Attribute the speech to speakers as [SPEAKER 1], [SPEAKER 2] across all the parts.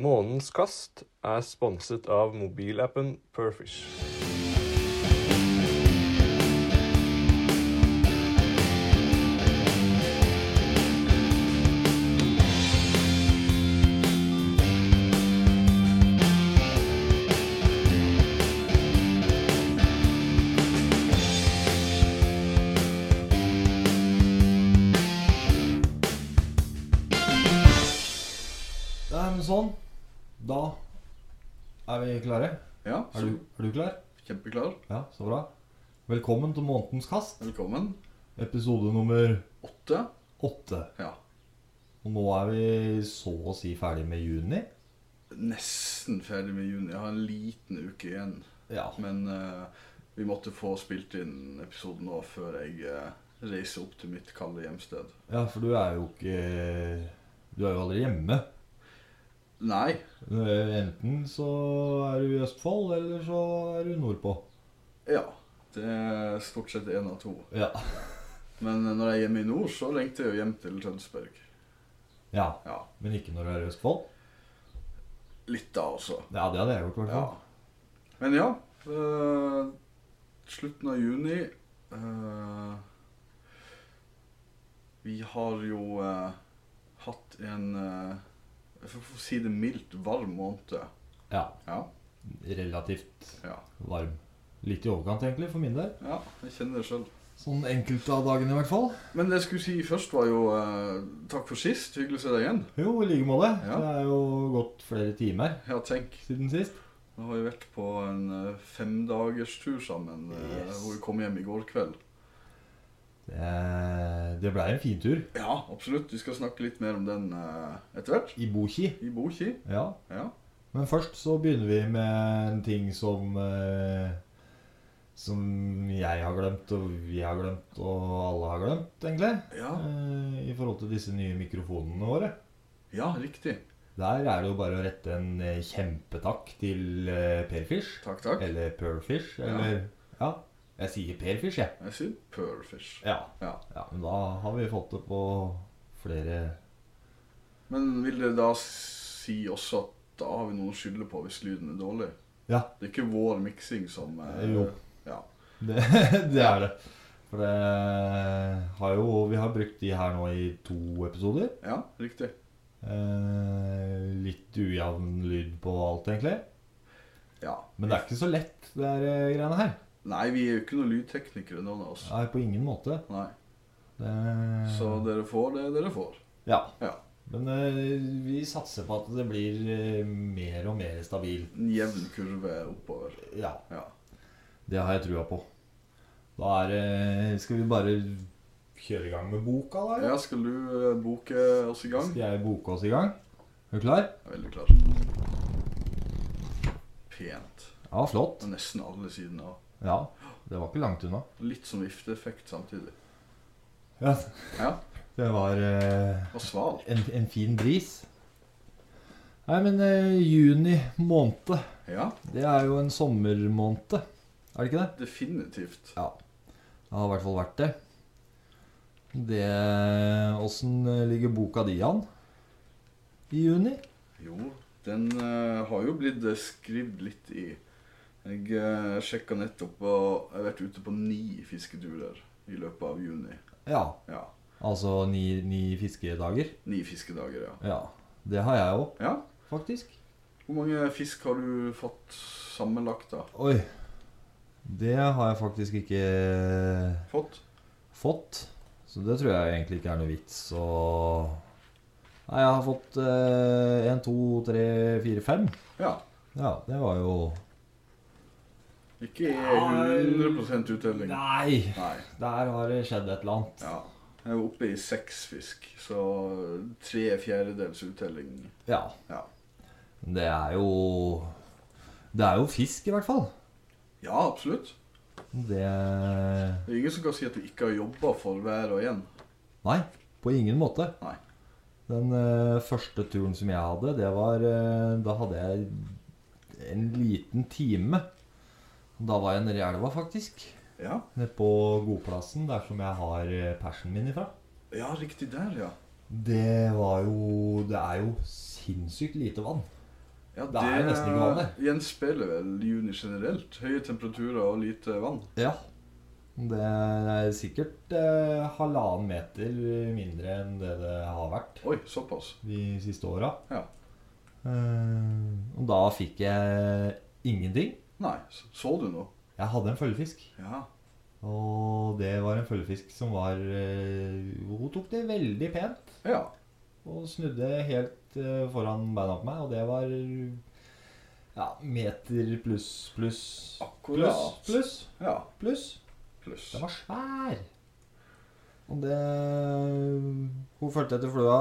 [SPEAKER 1] Månens kast er sponset av mobilappen Perfish.
[SPEAKER 2] Nei, men sånn. Da er vi klare.
[SPEAKER 3] Ja,
[SPEAKER 2] Er du, er du klar?
[SPEAKER 3] så kjempeklar.
[SPEAKER 2] Ja, så bra. Velkommen til Månedens kast,
[SPEAKER 3] Velkommen.
[SPEAKER 2] episode nummer
[SPEAKER 3] Åtte.
[SPEAKER 2] åtte.
[SPEAKER 3] Ja.
[SPEAKER 2] Og nå er vi så å si ferdig med juni.
[SPEAKER 3] Nesten ferdig med juni. Jeg har en liten uke igjen.
[SPEAKER 2] Ja.
[SPEAKER 3] Men eh, vi måtte få spilt inn episoden nå før jeg eh, reiser opp til mitt kalde hjemsted.
[SPEAKER 2] ja, for du er jo ikke Du er jo aldri hjemme.
[SPEAKER 3] Nei.
[SPEAKER 2] Enten så er du i Østfold, eller så er du nordpå.
[SPEAKER 3] Ja. Det er stort sett én av to.
[SPEAKER 2] Ja.
[SPEAKER 3] Men eh, når jeg er hjemme i nord, så lengter jeg jo hjem til Tønsberg.
[SPEAKER 2] ja.
[SPEAKER 3] Ja.
[SPEAKER 2] Men ikke når du er i Østfold?
[SPEAKER 3] Litt da også.
[SPEAKER 2] Ja, det hadde jeg gjort, i hvert
[SPEAKER 3] Ja.
[SPEAKER 2] fall.
[SPEAKER 3] Men ja. eh, slutten av juni eh, Vi har jo eh, hatt en eh, For å si det mildt varm måned.
[SPEAKER 2] Ja.
[SPEAKER 3] Ja.
[SPEAKER 2] Relativt
[SPEAKER 3] Ja.
[SPEAKER 2] varm. Litt i overkant, egentlig, for min del.
[SPEAKER 3] ja jeg kjenner det sjøl.
[SPEAKER 2] Sånn enkelte av dagene, i hvert fall.
[SPEAKER 3] Men det jeg skulle si først, var jo eh, takk for sist. Hyggelig å se deg igjen.
[SPEAKER 2] Jo, i like måte.
[SPEAKER 3] Ja.
[SPEAKER 2] Det er jo gått flere timer
[SPEAKER 3] Ja, tenk.
[SPEAKER 2] siden sist.
[SPEAKER 3] Nå har vi vært på en eh, femdagerstur sammen, eh,
[SPEAKER 2] Yes.
[SPEAKER 3] hvor vi kom hjem i går kveld.
[SPEAKER 2] Det, det blei en fin tur.
[SPEAKER 3] Ja, absolutt. Vi skal snakke litt mer om den eh, etter hvert.
[SPEAKER 2] I Boki.
[SPEAKER 3] I Boki.
[SPEAKER 2] Ja.
[SPEAKER 3] Ja.
[SPEAKER 2] Men først så begynner vi med en ting som eh, Som jeg har glemt, og vi har glemt, og alle har glemt, egentlig.
[SPEAKER 3] Ja,
[SPEAKER 2] Eh, I forhold til disse nye mikrofonene våre.
[SPEAKER 3] ja, riktig.
[SPEAKER 2] Der er det jo bare å rette en eh, kjempetakk til eh, Perfish.
[SPEAKER 3] Takk, takk.
[SPEAKER 2] Eller Perfish,
[SPEAKER 3] Ja.
[SPEAKER 2] eller Ja. Jeg sier Perfish, jeg.
[SPEAKER 3] Jeg sier pearlfish.
[SPEAKER 2] Ja.
[SPEAKER 3] Ja.
[SPEAKER 2] Ja, men da har vi fått det på flere
[SPEAKER 3] Men vil det da si også at da har vi noe å skylde på hvis lyden er dårlig?
[SPEAKER 2] Ja.
[SPEAKER 3] Det er ikke vår miksing som eh,
[SPEAKER 2] Eh, jo.
[SPEAKER 3] Ja.
[SPEAKER 2] Det, det er det. For det har jo Vi har brukt de her nå i to episoder.
[SPEAKER 3] ja, riktig.
[SPEAKER 2] Eh, litt ujevn lyd på alt, egentlig.
[SPEAKER 3] Ja.
[SPEAKER 2] Men det er ikke så lett, det her eh, greiene her.
[SPEAKER 3] Nei, vi er jo ikke noen lydteknikere, noen av oss.
[SPEAKER 2] Nei, på ingen måte.
[SPEAKER 3] Nei.
[SPEAKER 2] Det,
[SPEAKER 3] Så dere får det dere får.
[SPEAKER 2] Ja.
[SPEAKER 3] Ja.
[SPEAKER 2] Men eh, vi satser på at det blir eh, mer og mer stabil.
[SPEAKER 3] En jevn kurve oppover.
[SPEAKER 2] Ja.
[SPEAKER 3] Ja.
[SPEAKER 2] Det har jeg trua på. Da er det Skal vi bare kjøre i gang med boka, da? eller?
[SPEAKER 3] ja, skal du eh, boke oss i gang?
[SPEAKER 2] Skal jeg boke oss i gang? Er du klar?
[SPEAKER 3] Jeg er veldig klar. Pent.
[SPEAKER 2] Ja, flott.
[SPEAKER 3] Nesten alle sidene av.
[SPEAKER 2] Ja, det var ikke langt unna.
[SPEAKER 3] Litt som vifteeffekt samtidig.
[SPEAKER 2] Ja,
[SPEAKER 3] Ja.
[SPEAKER 2] det var eh,
[SPEAKER 3] Og sval.
[SPEAKER 2] en, en fin bris. Nei, men eh, juni måned,
[SPEAKER 3] Ja,
[SPEAKER 2] det er jo en sommermåned. Er det ikke det?
[SPEAKER 3] definitivt.
[SPEAKER 2] Ja. Det har i hvert fall vært det. Det Åssen ligger boka di an i juni?
[SPEAKER 3] Jo, den eh, har jo blitt eh, skrevet litt i. Jeg uh, sjekka nettopp, og jeg har vært ute på ni fisketurer i løpet av juni.
[SPEAKER 2] Ja.
[SPEAKER 3] Ja,
[SPEAKER 2] Altså ni, ni fiskedager?
[SPEAKER 3] Ni fiskedager, ja.
[SPEAKER 2] Ja. Det har jeg òg,
[SPEAKER 3] Ja,
[SPEAKER 2] faktisk.
[SPEAKER 3] Hvor mange fisk har du fått sammenlagt, da?
[SPEAKER 2] Oi. Det har jeg faktisk ikke eh,
[SPEAKER 3] Fått?
[SPEAKER 2] fått. Så det tror jeg egentlig ikke er noe vits å Nei, jeg har fått én, to, tre, fire, fem.
[SPEAKER 3] Ja.
[SPEAKER 2] Ja, det var jo
[SPEAKER 3] Ikke 100 uttelling.
[SPEAKER 2] Nei!
[SPEAKER 3] Nei.
[SPEAKER 2] Der har det skjedd et eller annet.
[SPEAKER 3] Ja. Jeg var oppe i seks fisk, så tre fjerdedels uttelling.
[SPEAKER 2] Ja.
[SPEAKER 3] Ja.
[SPEAKER 2] Men Det er jo Det er jo fisk, i hvert fall.
[SPEAKER 3] ja, absolutt.
[SPEAKER 2] Det
[SPEAKER 3] Det er ingen som kan si at du ikke har jobba for hver og en.
[SPEAKER 2] Nei, på ingen måte.
[SPEAKER 3] Nei.
[SPEAKER 2] Den eh, første turen som jeg hadde, det var eh, Da hadde jeg en liten time. Da var jeg nede i elva, faktisk.
[SPEAKER 3] Ja,
[SPEAKER 2] Nede på Godplassen, der som jeg har eh, persen min ifra.
[SPEAKER 3] ja riktig der, ja.
[SPEAKER 2] Det var jo Det er jo sinnssykt lite vann.
[SPEAKER 3] Ja,
[SPEAKER 2] Det er jo nesten ikke vanlig.
[SPEAKER 3] gjenspeiler vel juni generelt. Høye temperaturer og lite vann.
[SPEAKER 2] Ja. Det er sikkert eh, halvannen meter mindre enn det det har vært
[SPEAKER 3] Oi, såpass.
[SPEAKER 2] de siste åra.
[SPEAKER 3] Ja.
[SPEAKER 2] Eh, og da fikk jeg ingenting.
[SPEAKER 3] Nei, så, så du noe?
[SPEAKER 2] Jeg hadde en følgefisk.
[SPEAKER 3] Ja.
[SPEAKER 2] Og det var en følgefisk som var eh, Hun tok det veldig pent
[SPEAKER 3] Ja.
[SPEAKER 2] og snudde helt eh, foran beina på meg, og det var ja, meter pluss, pluss, pluss,
[SPEAKER 3] Akkurat.
[SPEAKER 2] pluss,
[SPEAKER 3] Ja.
[SPEAKER 2] pluss.
[SPEAKER 3] Pluss.
[SPEAKER 2] Den var svær. Og det Hun fulgte etter flua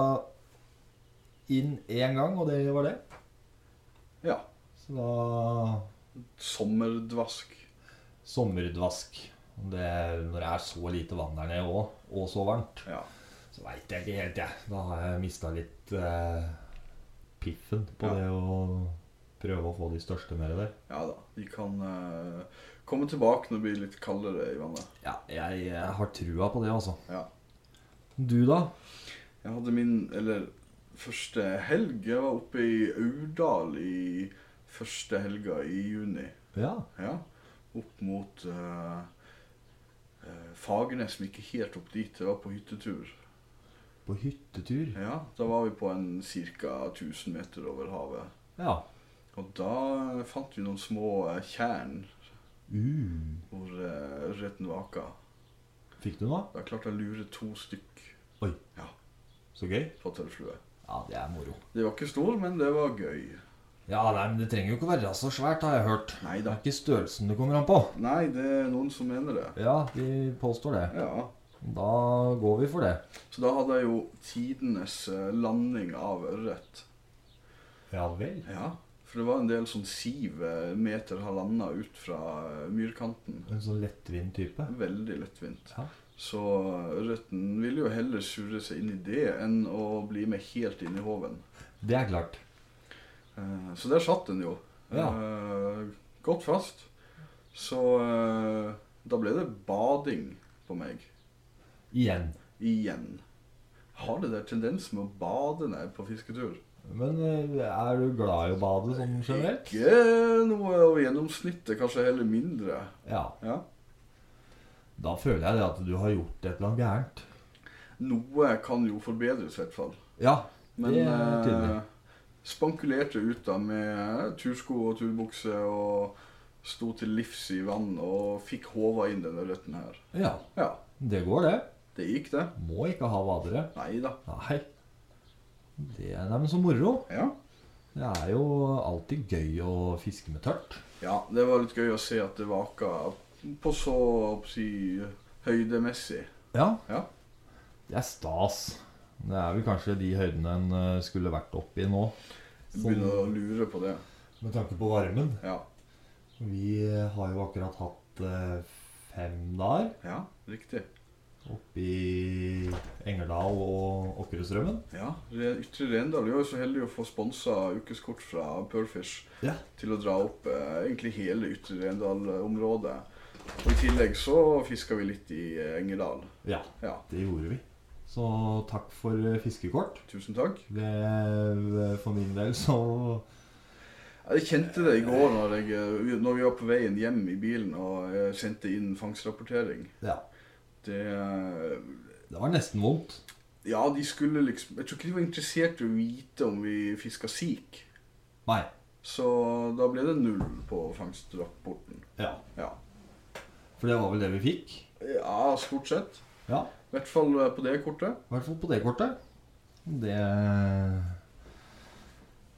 [SPEAKER 2] inn én gang, og det var det.
[SPEAKER 3] Ja.
[SPEAKER 2] Så da
[SPEAKER 3] Sommerdvask.
[SPEAKER 2] Sommerdvask. Og Det, når det er så lite vann der nede òg, og så varmt,
[SPEAKER 3] Ja.
[SPEAKER 2] så veit jeg ikke helt, jeg. Da har jeg mista litt eh, piffen på
[SPEAKER 3] Ja.
[SPEAKER 2] det å prøve å få de største nedi der.
[SPEAKER 3] Ja da. Vi kan eh, komme tilbake når det blir litt kaldere i vannet.
[SPEAKER 2] Ja, jeg, jeg har trua på det, altså.
[SPEAKER 3] Ja.
[SPEAKER 2] Du, da?
[SPEAKER 3] Jeg hadde min eller første helg Jeg var oppe i Aurdal i første helga i juni.
[SPEAKER 2] Ja.
[SPEAKER 3] Ja. Opp mot eh, eh, Fagernes, men ikke helt opp dit. Jeg var på hyttetur.
[SPEAKER 2] På hyttetur.
[SPEAKER 3] Ja, Da var vi på en ca. 1000 meter over havet.
[SPEAKER 2] Ja.
[SPEAKER 3] Og da fant vi noen små eh, tjern
[SPEAKER 2] Uh.
[SPEAKER 3] hvor eh, ørreten vaka.
[SPEAKER 2] Fikk du noe?
[SPEAKER 3] Da klarte jeg å lure to stykk
[SPEAKER 2] Så gøy.
[SPEAKER 3] på tørrflue.
[SPEAKER 2] Ja, det er moro.
[SPEAKER 3] De var ikke store, men det var gøy.
[SPEAKER 2] Ja, nei, men Det trenger jo ikke å være så svært, har jeg hørt.
[SPEAKER 3] Nei
[SPEAKER 2] Det
[SPEAKER 3] da.
[SPEAKER 2] er ikke størrelsen det kommer an på.
[SPEAKER 3] Nei, det er noen som mener det.
[SPEAKER 2] Ja, de påstår det.
[SPEAKER 3] Ja.
[SPEAKER 2] Da går vi for det.
[SPEAKER 3] Så da hadde jeg jo tidenes eh, landing av ørret.
[SPEAKER 2] Ja vel.
[SPEAKER 3] Ja, for det var en del sånn siv eh, meter halvanna ut fra eh, myrkanten.
[SPEAKER 2] En sånn lettvint type.
[SPEAKER 3] Veldig lettvint.
[SPEAKER 2] Ja.
[SPEAKER 3] Så ørreten ville jo heller surre seg inn i det enn å bli med helt inn i håven.
[SPEAKER 2] Det er klart.
[SPEAKER 3] Eh, Så der satt den jo.
[SPEAKER 2] Ja.
[SPEAKER 3] Eh, Godt fast. Så eh, da ble det bading på meg
[SPEAKER 2] Igjen.
[SPEAKER 3] igjen. Har det der tendens med å bade når jeg er på fisketur?
[SPEAKER 2] Men eh, er du glad i å bade sånn generelt?
[SPEAKER 3] Ikke noe over gjennomsnittet, kanskje heller mindre.
[SPEAKER 2] Ja.
[SPEAKER 3] Ja.
[SPEAKER 2] Da føler jeg det at du har gjort et eller annet gærent.
[SPEAKER 3] Noe kan jo forbedres, i hvert fall.
[SPEAKER 2] Ja.
[SPEAKER 3] Men
[SPEAKER 2] Det er tydelig.
[SPEAKER 3] eh, spankulerte ut da med eh, tursko og turbukse og sto til livs i vann og fikk håva inn denne røtten her.
[SPEAKER 2] Ja.
[SPEAKER 3] Ja,
[SPEAKER 2] Det går, det.
[SPEAKER 3] det gikk, det.
[SPEAKER 2] Må ikke ha vadere.
[SPEAKER 3] Nei da.
[SPEAKER 2] Nei. Det er neimen så moro.
[SPEAKER 3] Ja.
[SPEAKER 2] Det er jo alltid gøy å fiske med tørt.
[SPEAKER 3] ja, det var litt gøy å se at det vaka på så å si, høydemessig.
[SPEAKER 2] Ja.
[SPEAKER 3] Ja.
[SPEAKER 2] Det er stas. Det er vel kanskje de høydene en eh, skulle vært oppi nå. Sånn,
[SPEAKER 3] Begynner å lure på det.
[SPEAKER 2] Med tanke på varmen.
[SPEAKER 3] Ja,
[SPEAKER 2] Vi har jo akkurat hatt eh, fem dager
[SPEAKER 3] ja riktig.
[SPEAKER 2] oppe i Engerdal og Åkrestrømmen.
[SPEAKER 3] Ja, Re- Ytre Rendal er jo så heldig å få sponsa ukeskort fra Pearlfish
[SPEAKER 2] Ja.
[SPEAKER 3] til å dra opp eh, egentlig hele Ytre Rendal-området. Og I tillegg så fiska vi litt i eh, Engerdal.
[SPEAKER 2] ja,
[SPEAKER 3] Ja,
[SPEAKER 2] det gjorde vi. Så takk for eh, fiskekort.
[SPEAKER 3] tusen takk.
[SPEAKER 2] Det, for min del så
[SPEAKER 3] Jeg kjente det i går når, jeg, eh, når vi var på veien hjem i bilen og jeg sendte inn fangstrapportering.
[SPEAKER 2] Ja.
[SPEAKER 3] Det eh,
[SPEAKER 2] Det var nesten vondt.
[SPEAKER 3] Ja, de skulle liksom Jeg tror ikke de var interessert i å vite om vi fiska sik.
[SPEAKER 2] Nei.
[SPEAKER 3] Så da ble det null på fangstrapporten.
[SPEAKER 2] Ja.
[SPEAKER 3] Ja,
[SPEAKER 2] For det var vel det vi fikk.
[SPEAKER 3] ja stort sett.
[SPEAKER 2] Ja.
[SPEAKER 3] I hvert fall eh, på det kortet.
[SPEAKER 2] I hvert fall på det kortet. Det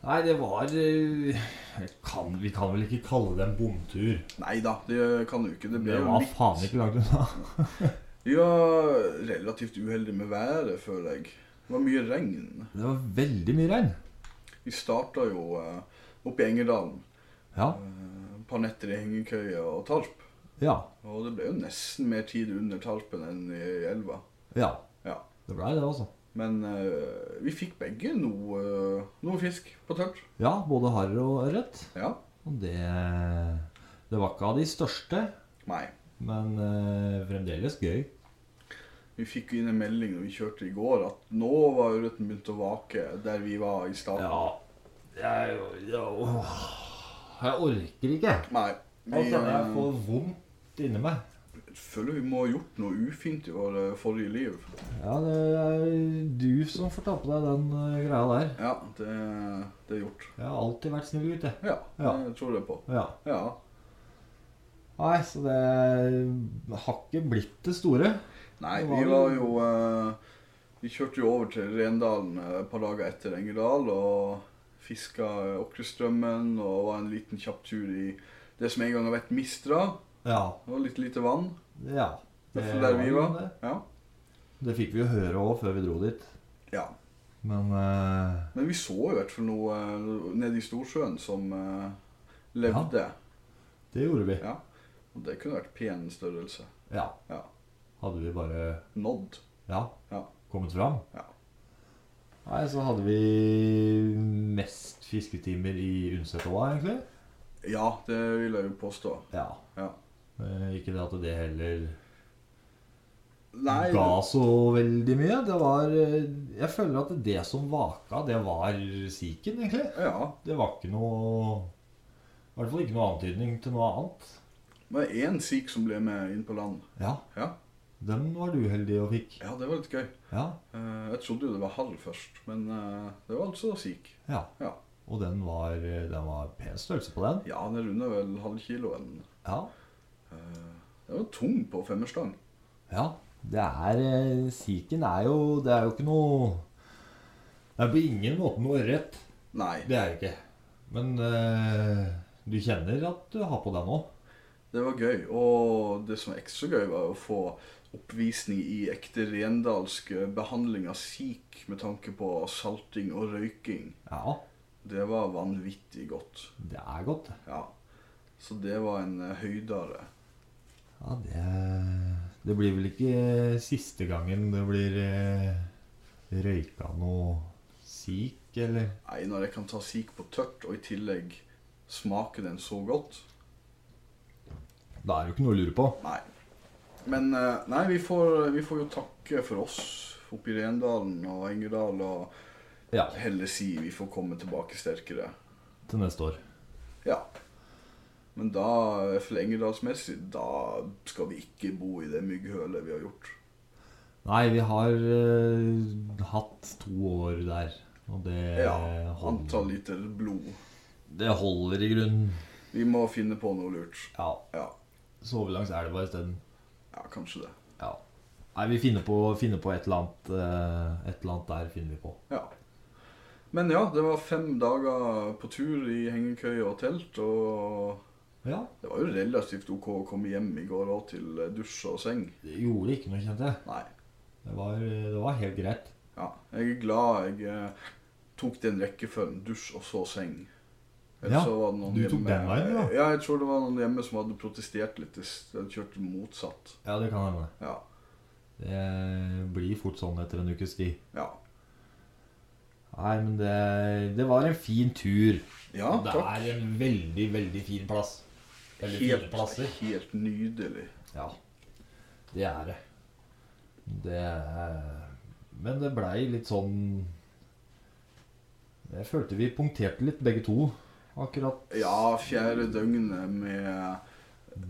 [SPEAKER 2] Nei, det var eh, jeg kan, Vi kan vel ikke kalle det en bomtur.
[SPEAKER 3] Nei da, det kan du ikke. Det ble
[SPEAKER 2] Det
[SPEAKER 3] jo
[SPEAKER 2] var
[SPEAKER 3] litt
[SPEAKER 2] faen ikke langt unna.
[SPEAKER 3] Vi var relativt uheldige med været, føler jeg. Det var mye regn.
[SPEAKER 2] Det var veldig mye regn.
[SPEAKER 3] Vi starta jo eh, oppe i Engerdalen.
[SPEAKER 2] Ja.
[SPEAKER 3] eh, Et par netter i hengekøye og tarp.
[SPEAKER 2] Ja.
[SPEAKER 3] Og det ble jo nesten mer tid under tarpen enn i elva.
[SPEAKER 2] Ja.
[SPEAKER 3] Ja.
[SPEAKER 2] Det blei det, altså.
[SPEAKER 3] Men eh, vi fikk begge noe, eh, noe fisk på tørt.
[SPEAKER 2] Ja, både harr og ørret.
[SPEAKER 3] Ja.
[SPEAKER 2] Og det Det var ikke av de største,
[SPEAKER 3] Nei.
[SPEAKER 2] men eh, fremdeles gøy.
[SPEAKER 3] Vi fikk jo inn en melding når vi kjørte i går, at nå var ørreten begynt å vake der vi var i starten.
[SPEAKER 2] Ja. Jeg, jeg, åh, jeg orker ikke.
[SPEAKER 3] Nei.
[SPEAKER 2] Nå
[SPEAKER 3] Vi
[SPEAKER 2] kjenner Altså, jeg
[SPEAKER 3] eh,
[SPEAKER 2] får vondt inni meg.
[SPEAKER 3] føler vi må ha gjort noe ufint i våre forrige liv.
[SPEAKER 2] Ja, det er du som får ta på deg den eh, greia der.
[SPEAKER 3] Ja, det, det er gjort.
[SPEAKER 2] Jeg har alltid vært snill gutt, jeg.
[SPEAKER 3] Ja,
[SPEAKER 2] Ja.
[SPEAKER 3] det tror jeg på.
[SPEAKER 2] Ja.
[SPEAKER 3] Ja.
[SPEAKER 2] Nei, så det har ikke blitt det store.
[SPEAKER 3] Nei,
[SPEAKER 2] Det var
[SPEAKER 3] vi
[SPEAKER 2] jo-
[SPEAKER 3] var jo eh, Vi kjørte jo over til Rendalen eh, et par dager etter Engerdal og fiska eh, Åkrestrømmen og var en liten kjapp tur i det som en gang har vært Mistra.
[SPEAKER 2] Ja.
[SPEAKER 3] Det var litt lite vann.
[SPEAKER 2] ja.
[SPEAKER 3] Det er der vi
[SPEAKER 2] jo
[SPEAKER 3] var.
[SPEAKER 2] det.
[SPEAKER 3] Ja.
[SPEAKER 2] Det fikk vi jo høre òg før vi dro dit.
[SPEAKER 3] ja.
[SPEAKER 2] Men eh,
[SPEAKER 3] Men vi så i hvert fall noe eh, nede i Storsjøen som eh, levde.
[SPEAKER 2] det gjorde vi.
[SPEAKER 3] Ja. Og det kunne vært pen størrelse.
[SPEAKER 2] Ja.
[SPEAKER 3] Ja.
[SPEAKER 2] Hadde vi bare
[SPEAKER 3] Nådd.
[SPEAKER 2] ja,
[SPEAKER 3] Ja.
[SPEAKER 2] kommet fram.
[SPEAKER 3] Ja.
[SPEAKER 2] Nei, så hadde vi mest fisketimer i Unsetåa, egentlig.
[SPEAKER 3] Ja, det vil jeg jo påstå.
[SPEAKER 2] Ja.
[SPEAKER 3] Ja.
[SPEAKER 2] Eh, Ikke det at det heller
[SPEAKER 3] Nei,
[SPEAKER 2] ga så veldig mye. Det var eh, Jeg føler at det som vaka, det var siken, egentlig.
[SPEAKER 3] ja.
[SPEAKER 2] Det var ikke noe I hvert fall ikke noe antydning til noe annet.
[SPEAKER 3] Det var én sikh som ble med inn på land.
[SPEAKER 2] Ja.
[SPEAKER 3] Ja,
[SPEAKER 2] Den var du heldig og fikk.
[SPEAKER 3] ja det var litt gøy.
[SPEAKER 2] Ja.
[SPEAKER 3] Eh, Jeg trodde jo det var harr først, men eh, det var altså sikh.
[SPEAKER 2] ja.
[SPEAKER 3] Ja.
[SPEAKER 2] Og den var, den var pen størrelse på den.
[SPEAKER 3] ja, den runda vel halvkiloen.
[SPEAKER 2] Ja.
[SPEAKER 3] Eh, Den var tung på femmerstang.
[SPEAKER 2] ja. Det er eh, Siken er jo Det er jo ikke noe Det er på ingen måte noe ørret.
[SPEAKER 3] Nei,
[SPEAKER 2] Det er det ikke. Men eh, du kjenner at du har på deg nå.
[SPEAKER 3] det var gøy. Og det som var ekstra gøy, var å få oppvisning i ekte rendalsk eh, behandling av sikh med tanke på salting og røyking.
[SPEAKER 2] Ja.
[SPEAKER 3] Det var vanvittig godt.
[SPEAKER 2] Det er godt.
[SPEAKER 3] Ja. Så det var en eh, høydare.
[SPEAKER 2] Ja, det, det blir vel ikke siste gangen det blir eh, røyka noe sik, eller?
[SPEAKER 3] Nei, når jeg kan ta sik på tørt, og i tillegg smake den så godt
[SPEAKER 2] Da er det jo ikke noe å lure på.
[SPEAKER 3] Nei. Men eh, nei, vi får, vi får jo takke for oss oppe i Rendalen og Engerdal, og
[SPEAKER 2] Ja,
[SPEAKER 3] heller si vi får komme tilbake sterkere.
[SPEAKER 2] til neste år.
[SPEAKER 3] Ja. Men da, i hvert fall engerdalsmessig, da skal vi ikke bo i det mygghølet vi har gjort.
[SPEAKER 2] Nei, vi har eh, hatt to år der, og det,
[SPEAKER 3] Ja. Antall
[SPEAKER 2] holder,
[SPEAKER 3] liter blod.
[SPEAKER 2] det holder i grunnen.
[SPEAKER 3] Vi må finne på noe lurt.
[SPEAKER 2] Ja,
[SPEAKER 3] Ja,
[SPEAKER 2] sove langs elva isteden.
[SPEAKER 3] ja kanskje det.
[SPEAKER 2] Ja. Nei, vi finner på, finner på et eller annet. eh, et eller annet der finner vi på.
[SPEAKER 3] Ja. Men ja, det var fem dager på tur i hengekøye og telt, og
[SPEAKER 2] Ja,
[SPEAKER 3] det var jo relativt ok å komme hjem i går òg til dusj og seng.
[SPEAKER 2] det gjorde ikke noe, kjente jeg.
[SPEAKER 3] Nei.
[SPEAKER 2] Det var, det var helt greit.
[SPEAKER 3] Ja. Jeg er glad jeg eh, tok den rekkefølgen dusj og så seng.
[SPEAKER 2] Ja,
[SPEAKER 3] så var det noen
[SPEAKER 2] du tok
[SPEAKER 3] hjemme-
[SPEAKER 2] den veien, ja.
[SPEAKER 3] Ja, jeg tror det var noen hjemme som hadde protestert litt. De s- De kjørte motsatt.
[SPEAKER 2] Ja, det kan hende.
[SPEAKER 3] Ja.
[SPEAKER 2] Det blir fort sånn etter en ukes tid.
[SPEAKER 3] Ja,
[SPEAKER 2] Nei, men det, det var en fin tur.
[SPEAKER 3] ja
[SPEAKER 2] det
[SPEAKER 3] takk.
[SPEAKER 2] er en veldig, veldig fin plass. Veldig
[SPEAKER 3] Helt,
[SPEAKER 2] fine plasser.
[SPEAKER 3] helt nydelig.
[SPEAKER 2] Ja, det er det. Det er- Men det blei litt sånn Jeg følte vi punkterte litt, begge to. Akkurat
[SPEAKER 3] Ja, fjerde døgnet med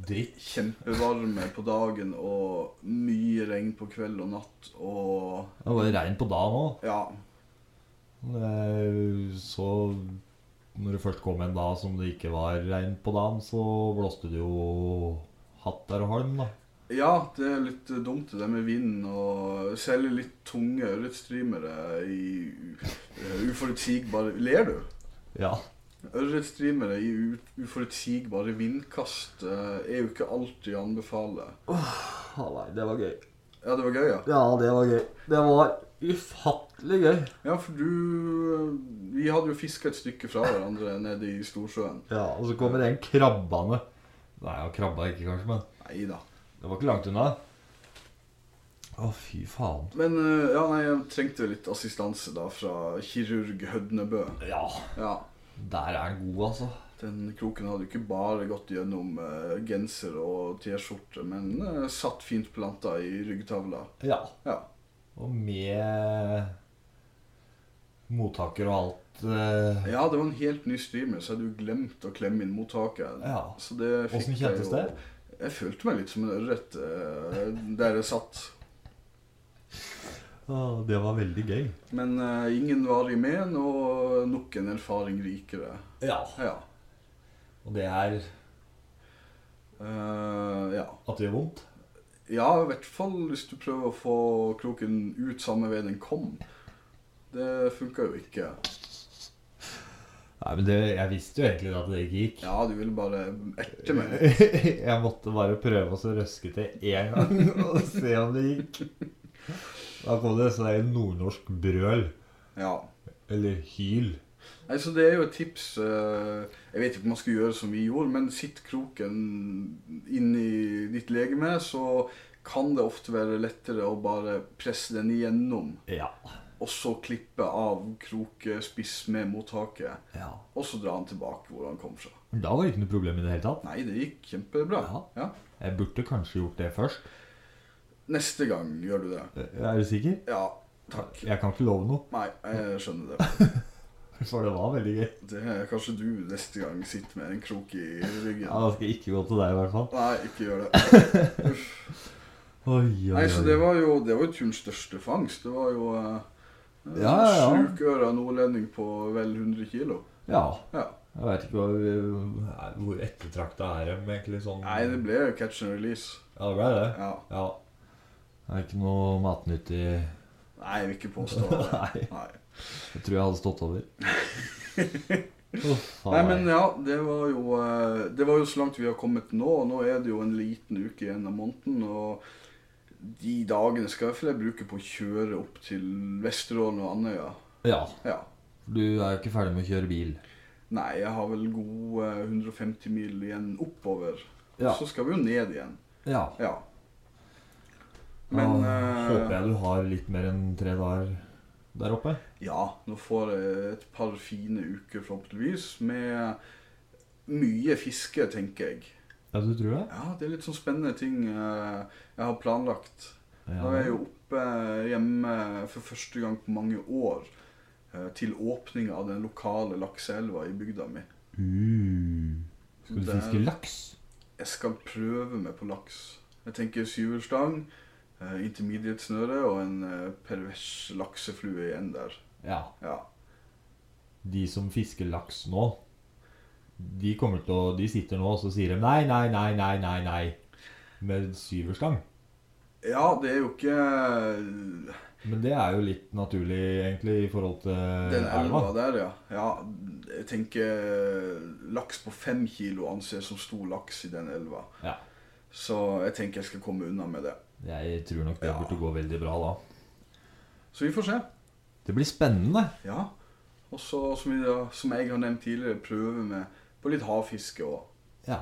[SPEAKER 2] dritt.
[SPEAKER 3] kjempevarme på dagen og mye regn på kveld og natt og
[SPEAKER 2] Det var jo regn på dagen òg.
[SPEAKER 3] Ja.
[SPEAKER 2] Eh, Så når det først kom en dag som det ikke var regn på dagen, så blåste det jo hatter og halm, da.
[SPEAKER 3] Ja, det er litt eh, dumt det der med vind og særlig litt tunge ørretstreamere i u- eh, uforutsigbare Ler du?
[SPEAKER 2] Ja.
[SPEAKER 3] Ørretstreamere i u- uforutsigbare vindkast eh, er jo ikke alltid å anbefale.
[SPEAKER 2] nei, det var gøy.
[SPEAKER 3] Ja, det var gøy, ja.
[SPEAKER 2] Ja, det var gøy. Det var ufattelig gøy.
[SPEAKER 3] Ja, for du eh, Vi hadde jo fiska et stykke fra hverandre nede i Storsjøen.
[SPEAKER 2] Ja, Og så kommer en krabbane. Nei, han krabba ikke, kanskje, men
[SPEAKER 3] Nei da.
[SPEAKER 2] det var ikke langt unna. Å, fy faen.
[SPEAKER 3] Men eh, ja, nei, jeg trengte litt assistanse da fra kirurg Hødnebø.
[SPEAKER 2] Ja,
[SPEAKER 3] Ja,
[SPEAKER 2] der er den god, altså.
[SPEAKER 3] Den kroken hadde jo ikke bare gått gjennom eh, genser og T-skjorte, men eh, satt fint planta i ryggtavla.
[SPEAKER 2] Ja.
[SPEAKER 3] Ja.
[SPEAKER 2] Og med mottaker og alt. eh,
[SPEAKER 3] Ja, det var en helt ny streamer, så hadde jo glemt å klemme inn mottaket.
[SPEAKER 2] Ja.
[SPEAKER 3] Så det fikk
[SPEAKER 2] Hvordan kjentes
[SPEAKER 3] jeg jo-
[SPEAKER 2] det?
[SPEAKER 3] Jeg følte meg litt som en ørret eh, der jeg satt.
[SPEAKER 2] Å, det var veldig gøy.
[SPEAKER 3] Men eh, ingen varig men, og nok en erfaring rikere.
[SPEAKER 2] Ja.
[SPEAKER 3] Ja.
[SPEAKER 2] Og det er
[SPEAKER 3] Eh, ja.
[SPEAKER 2] at det gjør vondt.
[SPEAKER 3] ja, i hvert fall hvis du prøver å få kroken ut samme vei den kom. Det funka jo ikke.
[SPEAKER 2] Nei, men det, Jeg visste jo egentlig at det ikke gikk.
[SPEAKER 3] Ja, du ville bare erte meg.
[SPEAKER 2] Jeg måtte bare prøve å så røske til én gang og se om det gikk. Da kom det sånn der nordnorsk brøl.
[SPEAKER 3] Ja.
[SPEAKER 2] Eller hyl.
[SPEAKER 3] Nei, så det er jo et tips eh, Jeg vet ikke om man skal gjøre som vi gjorde, men sitt kroken inn i ditt legeme, så kan det ofte være lettere å bare presse den igjennom,
[SPEAKER 2] Ja.
[SPEAKER 3] og så klippe av krokespiss med mottaket,
[SPEAKER 2] ja.
[SPEAKER 3] og så dra den tilbake hvor han kom fra.
[SPEAKER 2] Men da var det ikke noe problem i det hele tatt.
[SPEAKER 3] Nei, det gikk kjempebra.
[SPEAKER 2] Ja.
[SPEAKER 3] Ja.
[SPEAKER 2] Jeg burde kanskje gjort det først.
[SPEAKER 3] Neste gang gjør du det.
[SPEAKER 2] Er du sikker?
[SPEAKER 3] Ja, takk.
[SPEAKER 2] Jeg kan ikke love noe,
[SPEAKER 3] Nei, jeg skjønner det.
[SPEAKER 2] for det var veldig gøy.
[SPEAKER 3] det er kanskje du neste gang sitter med en krok i ryggen.
[SPEAKER 2] Ja, Da skal jeg ikke gå til deg, i hvert fall.
[SPEAKER 3] Nei, ikke gjør det.
[SPEAKER 2] Oi, oi,
[SPEAKER 3] Nei, så
[SPEAKER 2] oi.
[SPEAKER 3] det var jo, det var jo turens største fangst. Det var jo eh,
[SPEAKER 2] Ja, ja, ja.
[SPEAKER 3] sjuk øre av nordlending på vel 100 kilo.
[SPEAKER 2] Ja.
[SPEAKER 3] Ja.
[SPEAKER 2] Jeg veit ikke hvor, hvor ettertrakta er dem, egentlig. sånn
[SPEAKER 3] Nei, det ble jo catch and release.
[SPEAKER 2] Ja, det ble det.
[SPEAKER 3] Ja.
[SPEAKER 2] Ja. Det er ikke noe matnyttig
[SPEAKER 3] Nei, jeg vil ikke påstå det.
[SPEAKER 2] Nei.
[SPEAKER 3] Nei.
[SPEAKER 2] Jeg tror jeg hadde stått over. Uff,
[SPEAKER 3] Nei, men ja, det var, jo, eh, det var jo så langt vi har kommet nå. og Nå er det jo en liten uke igjen av måneden. Og de dagene skal i hvert fall jeg bruke på å kjøre opp til Vesterålen og Andøya.
[SPEAKER 2] Ja,
[SPEAKER 3] Ja.
[SPEAKER 2] for du er jo ikke ferdig med å kjøre bil.
[SPEAKER 3] Nei, jeg har vel gode 150 mil igjen oppover.
[SPEAKER 2] Ja.
[SPEAKER 3] Så skal vi jo ned igjen.
[SPEAKER 2] ja.
[SPEAKER 3] Ja. Men
[SPEAKER 2] da håper
[SPEAKER 3] eh,
[SPEAKER 2] jeg du har litt mer enn tre dager der oppe.
[SPEAKER 3] ja, nå får jeg et par fine uker forhåpentligvis med mye fiske, tenker jeg.
[SPEAKER 2] Ja, du tror det?
[SPEAKER 3] Ja, det er litt sånn spennende ting eh, jeg har planlagt.
[SPEAKER 2] Ja.
[SPEAKER 3] Nå er jeg jo oppe eh, hjemme for første gang på mange år eh, til åpninga av den lokale lakseelva i bygda mi.
[SPEAKER 2] Uh. Skal du
[SPEAKER 3] Der-
[SPEAKER 2] fiske laks?
[SPEAKER 3] Jeg skal prøve meg på laks. Jeg tenker syverstang, eh, intermediate-snøre og en eh, pervers lakseflue i en der.
[SPEAKER 2] Ja.
[SPEAKER 3] Ja.
[SPEAKER 2] De som fisker laks nå, de kommer til å De sitter nå og så sier de nei, nei, nei, nei, nei, nei. Med syverstang.
[SPEAKER 3] ja, det er jo eh, ikke
[SPEAKER 2] Men det er jo litt naturlig, egentlig, i forhold til
[SPEAKER 3] Den
[SPEAKER 2] Eh, elva.
[SPEAKER 3] elva der, ja. ja. Jeg tenker eh, laks på fem kilo anses som stor laks i den elva.
[SPEAKER 2] Ja.
[SPEAKER 3] Så jeg tenker jeg skal komme unna med det.
[SPEAKER 2] Jeg tror nok det
[SPEAKER 3] Ja.
[SPEAKER 2] burde gå veldig bra da.
[SPEAKER 3] Så vi får se.
[SPEAKER 2] Det blir spennende.
[SPEAKER 3] Ja. Og så, som, vi da- som jeg har nevnt tidligere, prøve med på litt havfiske òg.
[SPEAKER 2] Ja.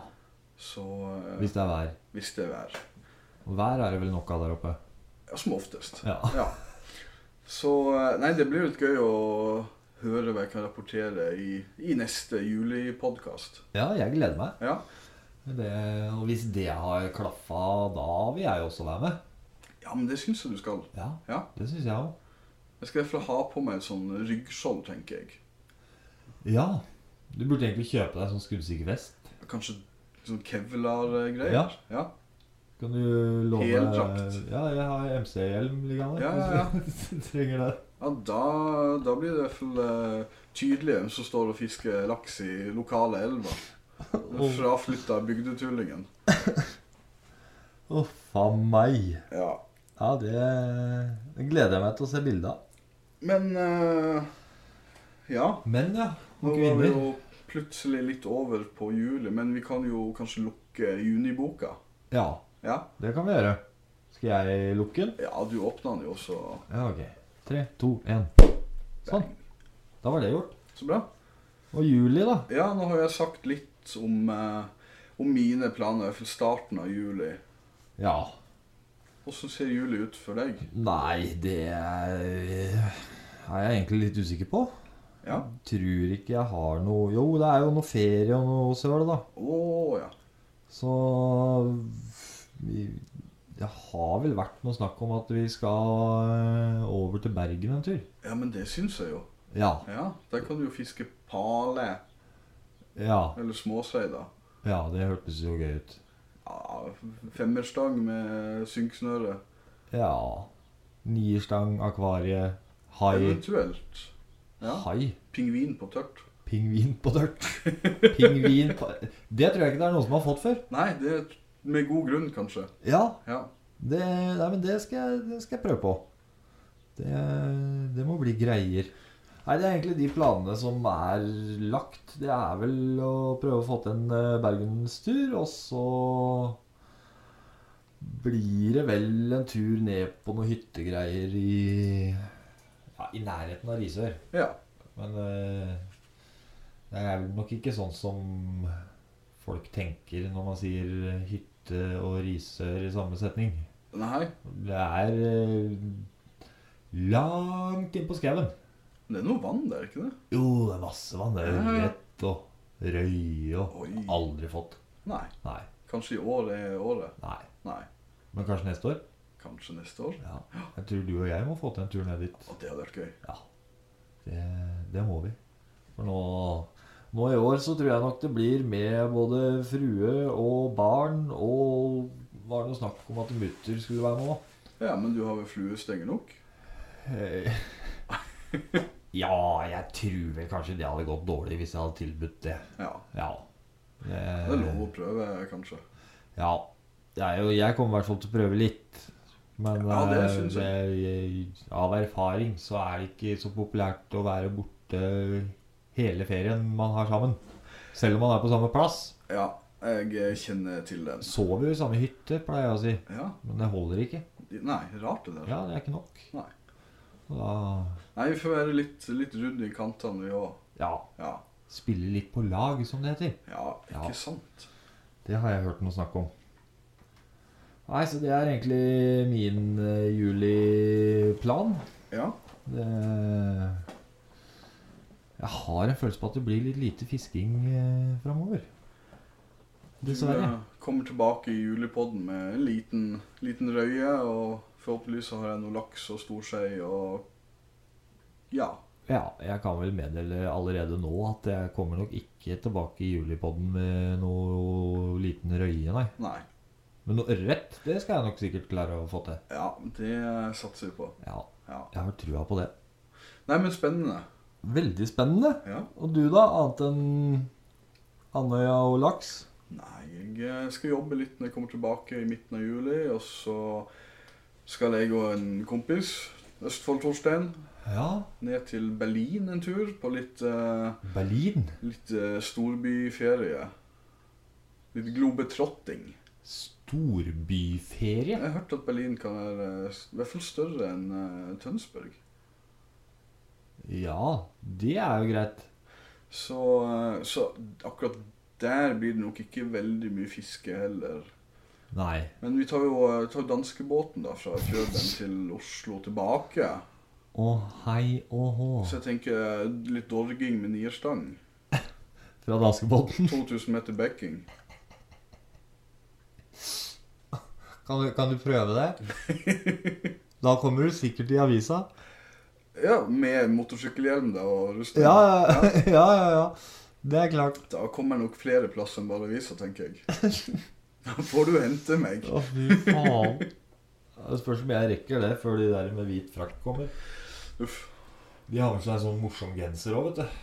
[SPEAKER 3] Så eh,
[SPEAKER 2] Hvis det er vær.
[SPEAKER 3] hvis det er vær.
[SPEAKER 2] Og vær er det vel nok av der oppe.
[SPEAKER 3] Ja, som oftest.
[SPEAKER 2] Ja.
[SPEAKER 3] Ja. Så eh, Nei, det blir jo litt gøy å høre hva jeg kan rapportere i, i neste julipodkast.
[SPEAKER 2] Ja, jeg gleder meg.
[SPEAKER 3] Ja.
[SPEAKER 2] Det, og hvis det har klaffa, da vil jeg også være med.
[SPEAKER 3] ja, men det syns jeg du skal.
[SPEAKER 2] Ja,
[SPEAKER 3] Ja.
[SPEAKER 2] det syns jeg òg.
[SPEAKER 3] Jeg skal i hvert fall ha på meg et sånn ryggskjold, tenker jeg.
[SPEAKER 2] Ja. Du burde egentlig kjøpe deg sånn skuddsikker vest.
[SPEAKER 3] Kanskje sånn kevlar-greier.
[SPEAKER 2] Ja.
[SPEAKER 3] ja.
[SPEAKER 2] Kan du låne
[SPEAKER 3] Heldrakt.
[SPEAKER 2] Ja, jeg har MC-hjelm liggende.
[SPEAKER 3] Ja, ja, ja.
[SPEAKER 2] hvis du Trenger det.
[SPEAKER 3] Ja, da, da blir det i hvert fall eh, tydelig hvem som står og fisker laks i lokale elver. Den fraflytta bygdetullingen.
[SPEAKER 2] Å, faen meg.
[SPEAKER 3] Ja.
[SPEAKER 2] Ja, det, det gleder jeg meg til å se bilde av.
[SPEAKER 3] Men eh, ja.
[SPEAKER 2] Men ja, om
[SPEAKER 3] Nå var vi
[SPEAKER 2] kvinner.
[SPEAKER 3] jo plutselig litt over på juli, men vi kan jo kanskje lukke juniboka.
[SPEAKER 2] Ja,
[SPEAKER 3] Ja,
[SPEAKER 2] det kan vi gjøre. Skal jeg lukke den?
[SPEAKER 3] ja du åpna den jo også.
[SPEAKER 2] Ja, ok. Tre, to, én. Sånn. Da var det gjort.
[SPEAKER 3] Så bra.
[SPEAKER 2] Og juli, da?
[SPEAKER 3] Ja, nå har jeg sagt litt om, eh, om mine planer for starten av juli.
[SPEAKER 2] Ja.
[SPEAKER 3] Hvordan ser juli ut for deg?
[SPEAKER 2] Nei, det er er jeg egentlig litt usikker på.
[SPEAKER 3] Ja.
[SPEAKER 2] Mm. Tror ikke jeg har noe Jo, det er jo noe ferie og noe søl, da.
[SPEAKER 3] Å ja.
[SPEAKER 2] Så vi- Det har vel vært noe snakk om at vi skal eh, over til Bergen en tur.
[SPEAKER 3] Ja, men det syns jeg jo.
[SPEAKER 2] Ja.
[SPEAKER 3] Ja, der kan du jo fiske pale
[SPEAKER 2] Ja,
[SPEAKER 3] eller småsei, da.
[SPEAKER 2] ja det hørtes jo gøy ut.
[SPEAKER 3] Ja, femmerstang med synksnøre.
[SPEAKER 2] Ja. Nierstang, akvarie, hai.
[SPEAKER 3] Eventuelt. Ja.
[SPEAKER 2] Hai?
[SPEAKER 3] Pingvin på tørt.
[SPEAKER 2] Pingvin på dørt. Pingvin på Det tror jeg ikke det er noen som har fått før.
[SPEAKER 3] Nei, det er med god grunn, kanskje.
[SPEAKER 2] Ja,
[SPEAKER 3] Ja.
[SPEAKER 2] det, nei, men det skal, jeg, det skal jeg prøve på. Det, det må bli greier. Nei, Det er egentlig de planene som er lagt. Det er vel å prøve å få til en eh, bergenstur, og så blir det vel en tur ned på noen hyttegreier i ja, i nærheten av Risør.
[SPEAKER 3] ja.
[SPEAKER 2] Men eh, det er vel nok ikke sånn som folk tenker når man sier hytte og Risør i samme setning.
[SPEAKER 3] Nei,
[SPEAKER 2] Det er eh, langt inn på skauen.
[SPEAKER 3] det er noe vann der, ikke det?
[SPEAKER 2] Jo, det er masse vann. Det er
[SPEAKER 3] Ja, ja.
[SPEAKER 2] ørret og røye og
[SPEAKER 3] Oi.
[SPEAKER 2] Aldri fått.
[SPEAKER 3] Nei.
[SPEAKER 2] Nei.
[SPEAKER 3] Kanskje i år er året.
[SPEAKER 2] nei.
[SPEAKER 3] Nei.
[SPEAKER 2] Men kanskje neste år?
[SPEAKER 3] Kanskje neste år.
[SPEAKER 2] Ja. Jeg tror du og jeg må få til en tur ned dit.
[SPEAKER 3] Og det hadde vært gøy.
[SPEAKER 2] Ja. Det, det må vi. For nå, nå i år så tror jeg nok det blir med både frue og barn og Var det noe snakk om at mutter skulle være med òg?
[SPEAKER 3] Ja, men du har vel fluestenger nok?
[SPEAKER 2] Eh, Ja, jeg tror vel kanskje det hadde gått dårlig hvis jeg hadde tilbudt det.
[SPEAKER 3] Ja.
[SPEAKER 2] Ja.
[SPEAKER 3] Det er lov å prøve, kanskje.
[SPEAKER 2] Ja. Det er jo, jeg kommer i hvert fall til å prøve litt. Men
[SPEAKER 3] Ja, det
[SPEAKER 2] eh,
[SPEAKER 3] synes
[SPEAKER 2] det- av erfaring så er det ikke så populært å være borte hele ferien man har sammen. Selv om man er på samme plass.
[SPEAKER 3] Ja, jeg kjenner til den.
[SPEAKER 2] Sover jo i samme hytte, pleier jeg å si.
[SPEAKER 3] Ja.
[SPEAKER 2] Men det holder ikke.
[SPEAKER 3] Nei, rart det der.
[SPEAKER 2] Ja, det er ikke nok.
[SPEAKER 3] Nei.
[SPEAKER 2] Og Da,
[SPEAKER 3] Nei, vi får være litt, litt runde i kantene, vi òg.
[SPEAKER 2] ja,
[SPEAKER 3] Ja.
[SPEAKER 2] spille litt på lag, som det heter.
[SPEAKER 3] ja, ikke
[SPEAKER 2] Ja.
[SPEAKER 3] sant?
[SPEAKER 2] Det har jeg hørt noe snakk om. Nei, så det er egentlig min eh, juliplan.
[SPEAKER 3] Ja.
[SPEAKER 2] Det Jeg har en følelse på at det blir litt lite fisking eh, framover.
[SPEAKER 3] Du
[SPEAKER 2] Dessverre.
[SPEAKER 3] eh, kommer tilbake i julepodden med en liten, liten røye, og forhåpentligvis så har jeg noe laks og storsei og Ja.
[SPEAKER 2] Ja, jeg kan vel meddele allerede nå at jeg kommer nok ikke tilbake i julipodden med noe liten røye, nei.
[SPEAKER 3] Nei.
[SPEAKER 2] Men noe ørret, det skal jeg nok sikkert klare å få til.
[SPEAKER 3] Ja, det satser vi på.
[SPEAKER 2] Ja,
[SPEAKER 3] Ja.
[SPEAKER 2] jeg har trua på det.
[SPEAKER 3] Nei, men spennende.
[SPEAKER 2] Veldig spennende.
[SPEAKER 3] Ja.
[SPEAKER 2] Og du, da? Annet enn Andøya og laks?
[SPEAKER 3] Nei, jeg eh, skal jobbe litt når jeg kommer tilbake i midten av juli. Og så skal jeg og en kompis, Østfold-Torstein,
[SPEAKER 2] Ja.
[SPEAKER 3] ned til Berlin en tur på litt, eh,
[SPEAKER 2] Berlin.
[SPEAKER 3] litt eh, storbyferie. Litt globetrotting.
[SPEAKER 2] Storbyferie.
[SPEAKER 3] Jeg har hørt at Berlin kan være eh, s- i hvert fall større enn eh, Tønsberg.
[SPEAKER 2] Ja, det er jo greit.
[SPEAKER 3] Så, eh, så akkurat der blir det nok ikke veldig mye fiske heller.
[SPEAKER 2] Nei.
[SPEAKER 3] Men vi tar jo eh, tar danskebåten da, fra Kjøben til Oslo tilbake.
[SPEAKER 2] Å hei å hå.
[SPEAKER 3] Så jeg tenker eh, litt dorging med nierstang.
[SPEAKER 2] Fra Danskebåten.
[SPEAKER 3] 2000 meter backing.
[SPEAKER 2] Kan, du- kan du prøve det? Da kommer du sikkert i avisa.
[SPEAKER 3] Ja, med motorsykkelhjelm da og rustning.
[SPEAKER 2] Ja, ja, ja. ja, ja. Det er klart.
[SPEAKER 3] Da kommer jeg nok flere plasser enn bare avisa, tenker jeg. Da får du hente meg.
[SPEAKER 2] Å, fy faen. Det spørs om jeg rekker det før de der med hvit frakk kommer.
[SPEAKER 3] Uff.
[SPEAKER 2] De har med seg en sånn morsom genser òg, vet du.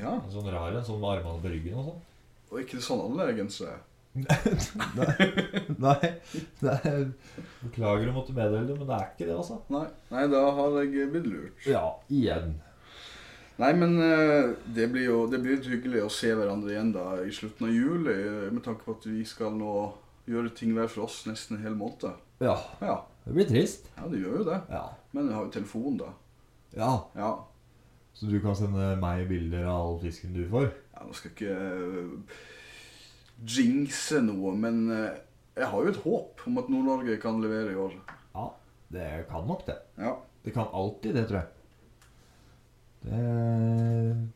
[SPEAKER 3] Ja,
[SPEAKER 2] En sånn rar en, sånn med armene på ryggen og sånn.
[SPEAKER 3] og ikke sånn alle er gensere.
[SPEAKER 2] Nei. Det er, beklager å måtte meddele det, men det er ikke det, altså.
[SPEAKER 3] Nei. Nei, da har jeg blitt lurt.
[SPEAKER 2] Ja, igjen.
[SPEAKER 3] Nei, men eh, det blir jo det blir litt hyggelig å se hverandre igjen da i slutten av juli, eh, med tanke på at vi skal nå gjøre ting hver for oss nesten en hel måned.
[SPEAKER 2] Ja.
[SPEAKER 3] Ja,
[SPEAKER 2] Det blir trist.
[SPEAKER 3] ja, det gjør jo det.
[SPEAKER 2] Ja.
[SPEAKER 3] Men vi har jo telefon, da.
[SPEAKER 2] ja.
[SPEAKER 3] Ja.
[SPEAKER 2] Så du kan sende meg bilder av all fisken du får?
[SPEAKER 3] Ja, nå skal jeg ikke eh, jinxe noe, men eh, jeg har jo et håp om at Nord-Norge kan levere i år.
[SPEAKER 2] Ja, det kan nok det.
[SPEAKER 3] Ja.
[SPEAKER 2] Det kan alltid det, tror jeg. Det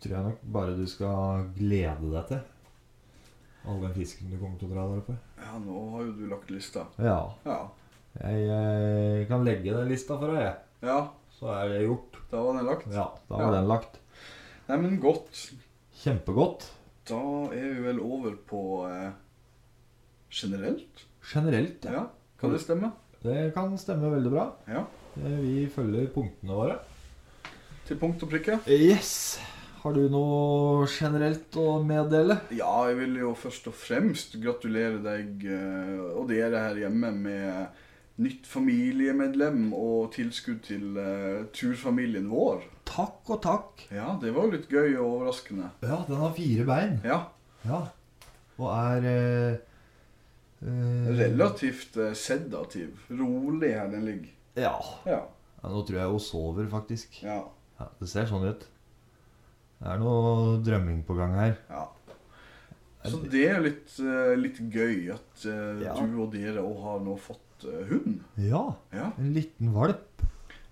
[SPEAKER 2] tror jeg nok bare du skal glede deg til. All den fisken du kommer til å dra der oppe.
[SPEAKER 3] ja, nå har jo du lagt lista.
[SPEAKER 2] Ja.
[SPEAKER 3] Ja.
[SPEAKER 2] Jeg eh, kan legge den lista for deg, jeg.
[SPEAKER 3] Ja,
[SPEAKER 2] så er det gjort.
[SPEAKER 3] Da var den lagt.
[SPEAKER 2] Ja, da var
[SPEAKER 3] Ja.
[SPEAKER 2] den lagt.
[SPEAKER 3] Nei, men godt.
[SPEAKER 2] Kjempegodt.
[SPEAKER 3] Da er vi vel over på eh, generelt.
[SPEAKER 2] Generelt, ja.
[SPEAKER 3] Ja, kan det stemme?
[SPEAKER 2] Det kan stemme veldig bra.
[SPEAKER 3] Ja.
[SPEAKER 2] Eh, Vi følger punktene våre.
[SPEAKER 3] Til punkt og prikke.
[SPEAKER 2] Yes! Har du noe generelt å meddele?
[SPEAKER 3] Ja, jeg vil jo først og fremst gratulere deg eh, og dere her hjemme med nytt familiemedlem og tilskudd til eh, turfamilien vår.
[SPEAKER 2] Takk og takk.
[SPEAKER 3] Ja, det var litt gøy og overraskende.
[SPEAKER 2] Ja, den har fire bein.
[SPEAKER 3] Ja,
[SPEAKER 2] Ja. Og er eh, eh,
[SPEAKER 3] relativt eh, sedativ. Rolig her den ligger.
[SPEAKER 2] Ja.
[SPEAKER 3] Ja,
[SPEAKER 2] ja. Nå tror jeg hun sover, faktisk.
[SPEAKER 3] ja,
[SPEAKER 2] Ja, det ser sånn ut. Det er noe drømming på gang her.
[SPEAKER 3] ja. Så det er litt, eh, litt gøy at eh,
[SPEAKER 2] Ja.
[SPEAKER 3] du og dere òg har nå fått eh, hund.
[SPEAKER 2] Ja,
[SPEAKER 3] Ja,
[SPEAKER 2] en liten valp.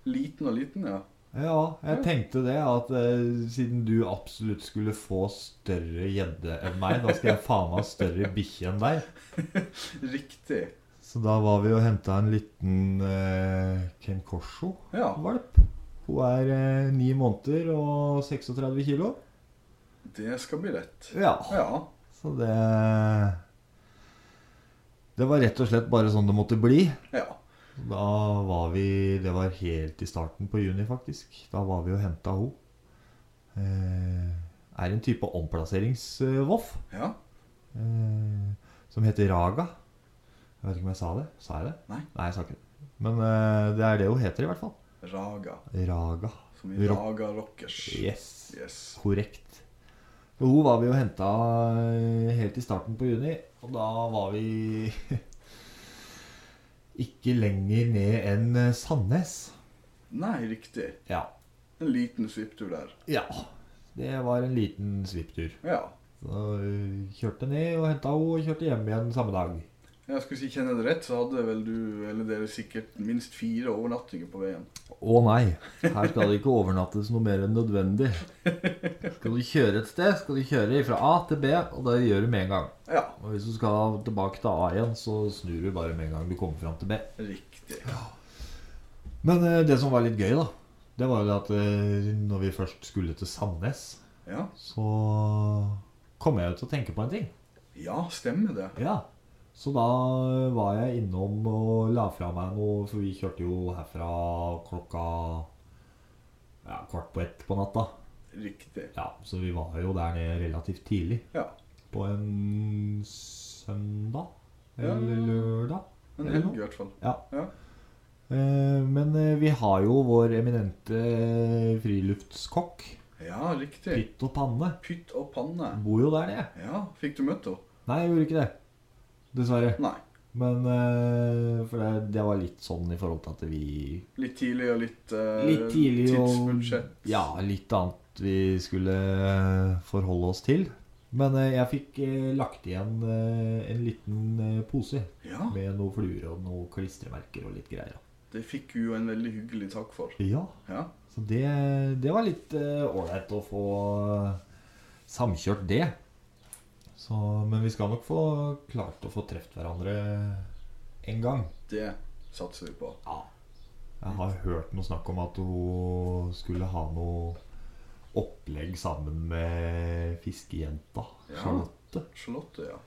[SPEAKER 3] Liten og liten, ja.
[SPEAKER 2] Ja, jeg
[SPEAKER 3] Ja.
[SPEAKER 2] tenkte det at eh, siden du absolutt skulle få større gjedde enn meg, da skal jeg faen meg ha større bikkje enn deg.
[SPEAKER 3] Riktig.
[SPEAKER 2] Så da var vi og henta en liten eh, Ken Corso-valp.
[SPEAKER 3] Ja.
[SPEAKER 2] Hun er eh, ni måneder og 36 kilo.
[SPEAKER 3] Det skal bli rett.
[SPEAKER 2] Ja,
[SPEAKER 3] Ja.
[SPEAKER 2] så det Det var rett og slett bare sånn det måtte bli.
[SPEAKER 3] ja.
[SPEAKER 2] Da var vi Det var helt i starten på juni, faktisk. Da var vi og henta ho. Eh, er en type omplasseringsvoff
[SPEAKER 3] Ja.
[SPEAKER 2] eh, som heter Raga. Jeg vet ikke om jeg sa det. Sa jeg det?
[SPEAKER 3] Nei.
[SPEAKER 2] jeg sa ikke det. Men eh, det er det hun heter, i hvert fall.
[SPEAKER 3] Raga.
[SPEAKER 2] Raga.
[SPEAKER 3] Som i
[SPEAKER 2] Rock.
[SPEAKER 3] Raga Rockers.
[SPEAKER 2] Yes.
[SPEAKER 3] Yes.
[SPEAKER 2] Korrekt. Og hun var vi og henta eh, helt i starten på juni, og da var vi ikke lenger ned enn eh, Sandnes.
[SPEAKER 3] Nei, riktig.
[SPEAKER 2] Ja.
[SPEAKER 3] En liten svipptur der.
[SPEAKER 2] Ja. Det var en liten svipptur.
[SPEAKER 3] Ja.
[SPEAKER 2] Så øh, kjørte ned og henta henne og kjørte hjem igjen samme dag.
[SPEAKER 3] Jeg skulle si kjenner jeg det rett, så hadde vel du eller dere sikkert minst fire overnattinger på veien.
[SPEAKER 2] Å nei, her skal det ikke overnattes noe mer enn nødvendig. Skal du kjøre et sted, skal du kjøre fra A til B, og det gjør du med en gang.
[SPEAKER 3] Ja,
[SPEAKER 2] Og hvis du skal tilbake til A igjen, så snur du bare med en gang du kommer fram til B.
[SPEAKER 3] riktig.
[SPEAKER 2] Men øh, det som var litt gøy, da, det var jo det at øh, når vi først skulle til Sandnes,
[SPEAKER 3] Ja,
[SPEAKER 2] så kom jeg jo til å tenke på en ting.
[SPEAKER 3] ja stemmer det.
[SPEAKER 2] Ja. Så da var jeg innom og la fra meg noe, for vi kjørte jo herfra klokka ja, kvart på ett på natta.
[SPEAKER 3] Riktig.
[SPEAKER 2] Ja, Så vi var jo der nede relativt tidlig.
[SPEAKER 3] Ja.
[SPEAKER 2] På en søndag?
[SPEAKER 3] Ja.
[SPEAKER 2] Eller lørdag?
[SPEAKER 3] En
[SPEAKER 2] Eller
[SPEAKER 3] helg
[SPEAKER 2] noe.
[SPEAKER 3] i hvert fall.
[SPEAKER 2] Ja.
[SPEAKER 3] Ja.
[SPEAKER 2] Eh, Men eh, vi har jo vår eminente friluftskokk.
[SPEAKER 3] Ja, riktig.
[SPEAKER 2] Pytt og panne.
[SPEAKER 3] Pytt og panne.
[SPEAKER 2] Bor jo der nede.
[SPEAKER 3] Ja, fikk du møtt henne?
[SPEAKER 2] Nei, jeg gjorde ikke det. Dessverre.
[SPEAKER 3] Nei.
[SPEAKER 2] Men eh, For det, det var litt sånn i forhold til at vi
[SPEAKER 3] Litt tidlig og litt, eh,
[SPEAKER 2] Litt tidlig og
[SPEAKER 3] tidsbudsjett.
[SPEAKER 2] Ja, litt annet vi skulle eh, forholde oss til. Men eh, jeg fikk eh, lagt igjen eh, en liten eh, pose
[SPEAKER 3] Ja,
[SPEAKER 2] med noen fluer og noen klistremerker og litt greier.
[SPEAKER 3] det fikk vi jo en veldig hyggelig takk for.
[SPEAKER 2] Ja,
[SPEAKER 3] Ja,
[SPEAKER 2] så det, det var litt eh, ålreit å få eh, samkjørt det. Så, men vi skal nok få klart å få truffet hverandre en gang.
[SPEAKER 3] det satser vi på.
[SPEAKER 2] Ja. Jeg har hørt noe snakk om at hun skulle ha noe opplegg sammen med fiskejenta
[SPEAKER 3] Ja.
[SPEAKER 2] Charlotte.
[SPEAKER 3] Charlotte, ja.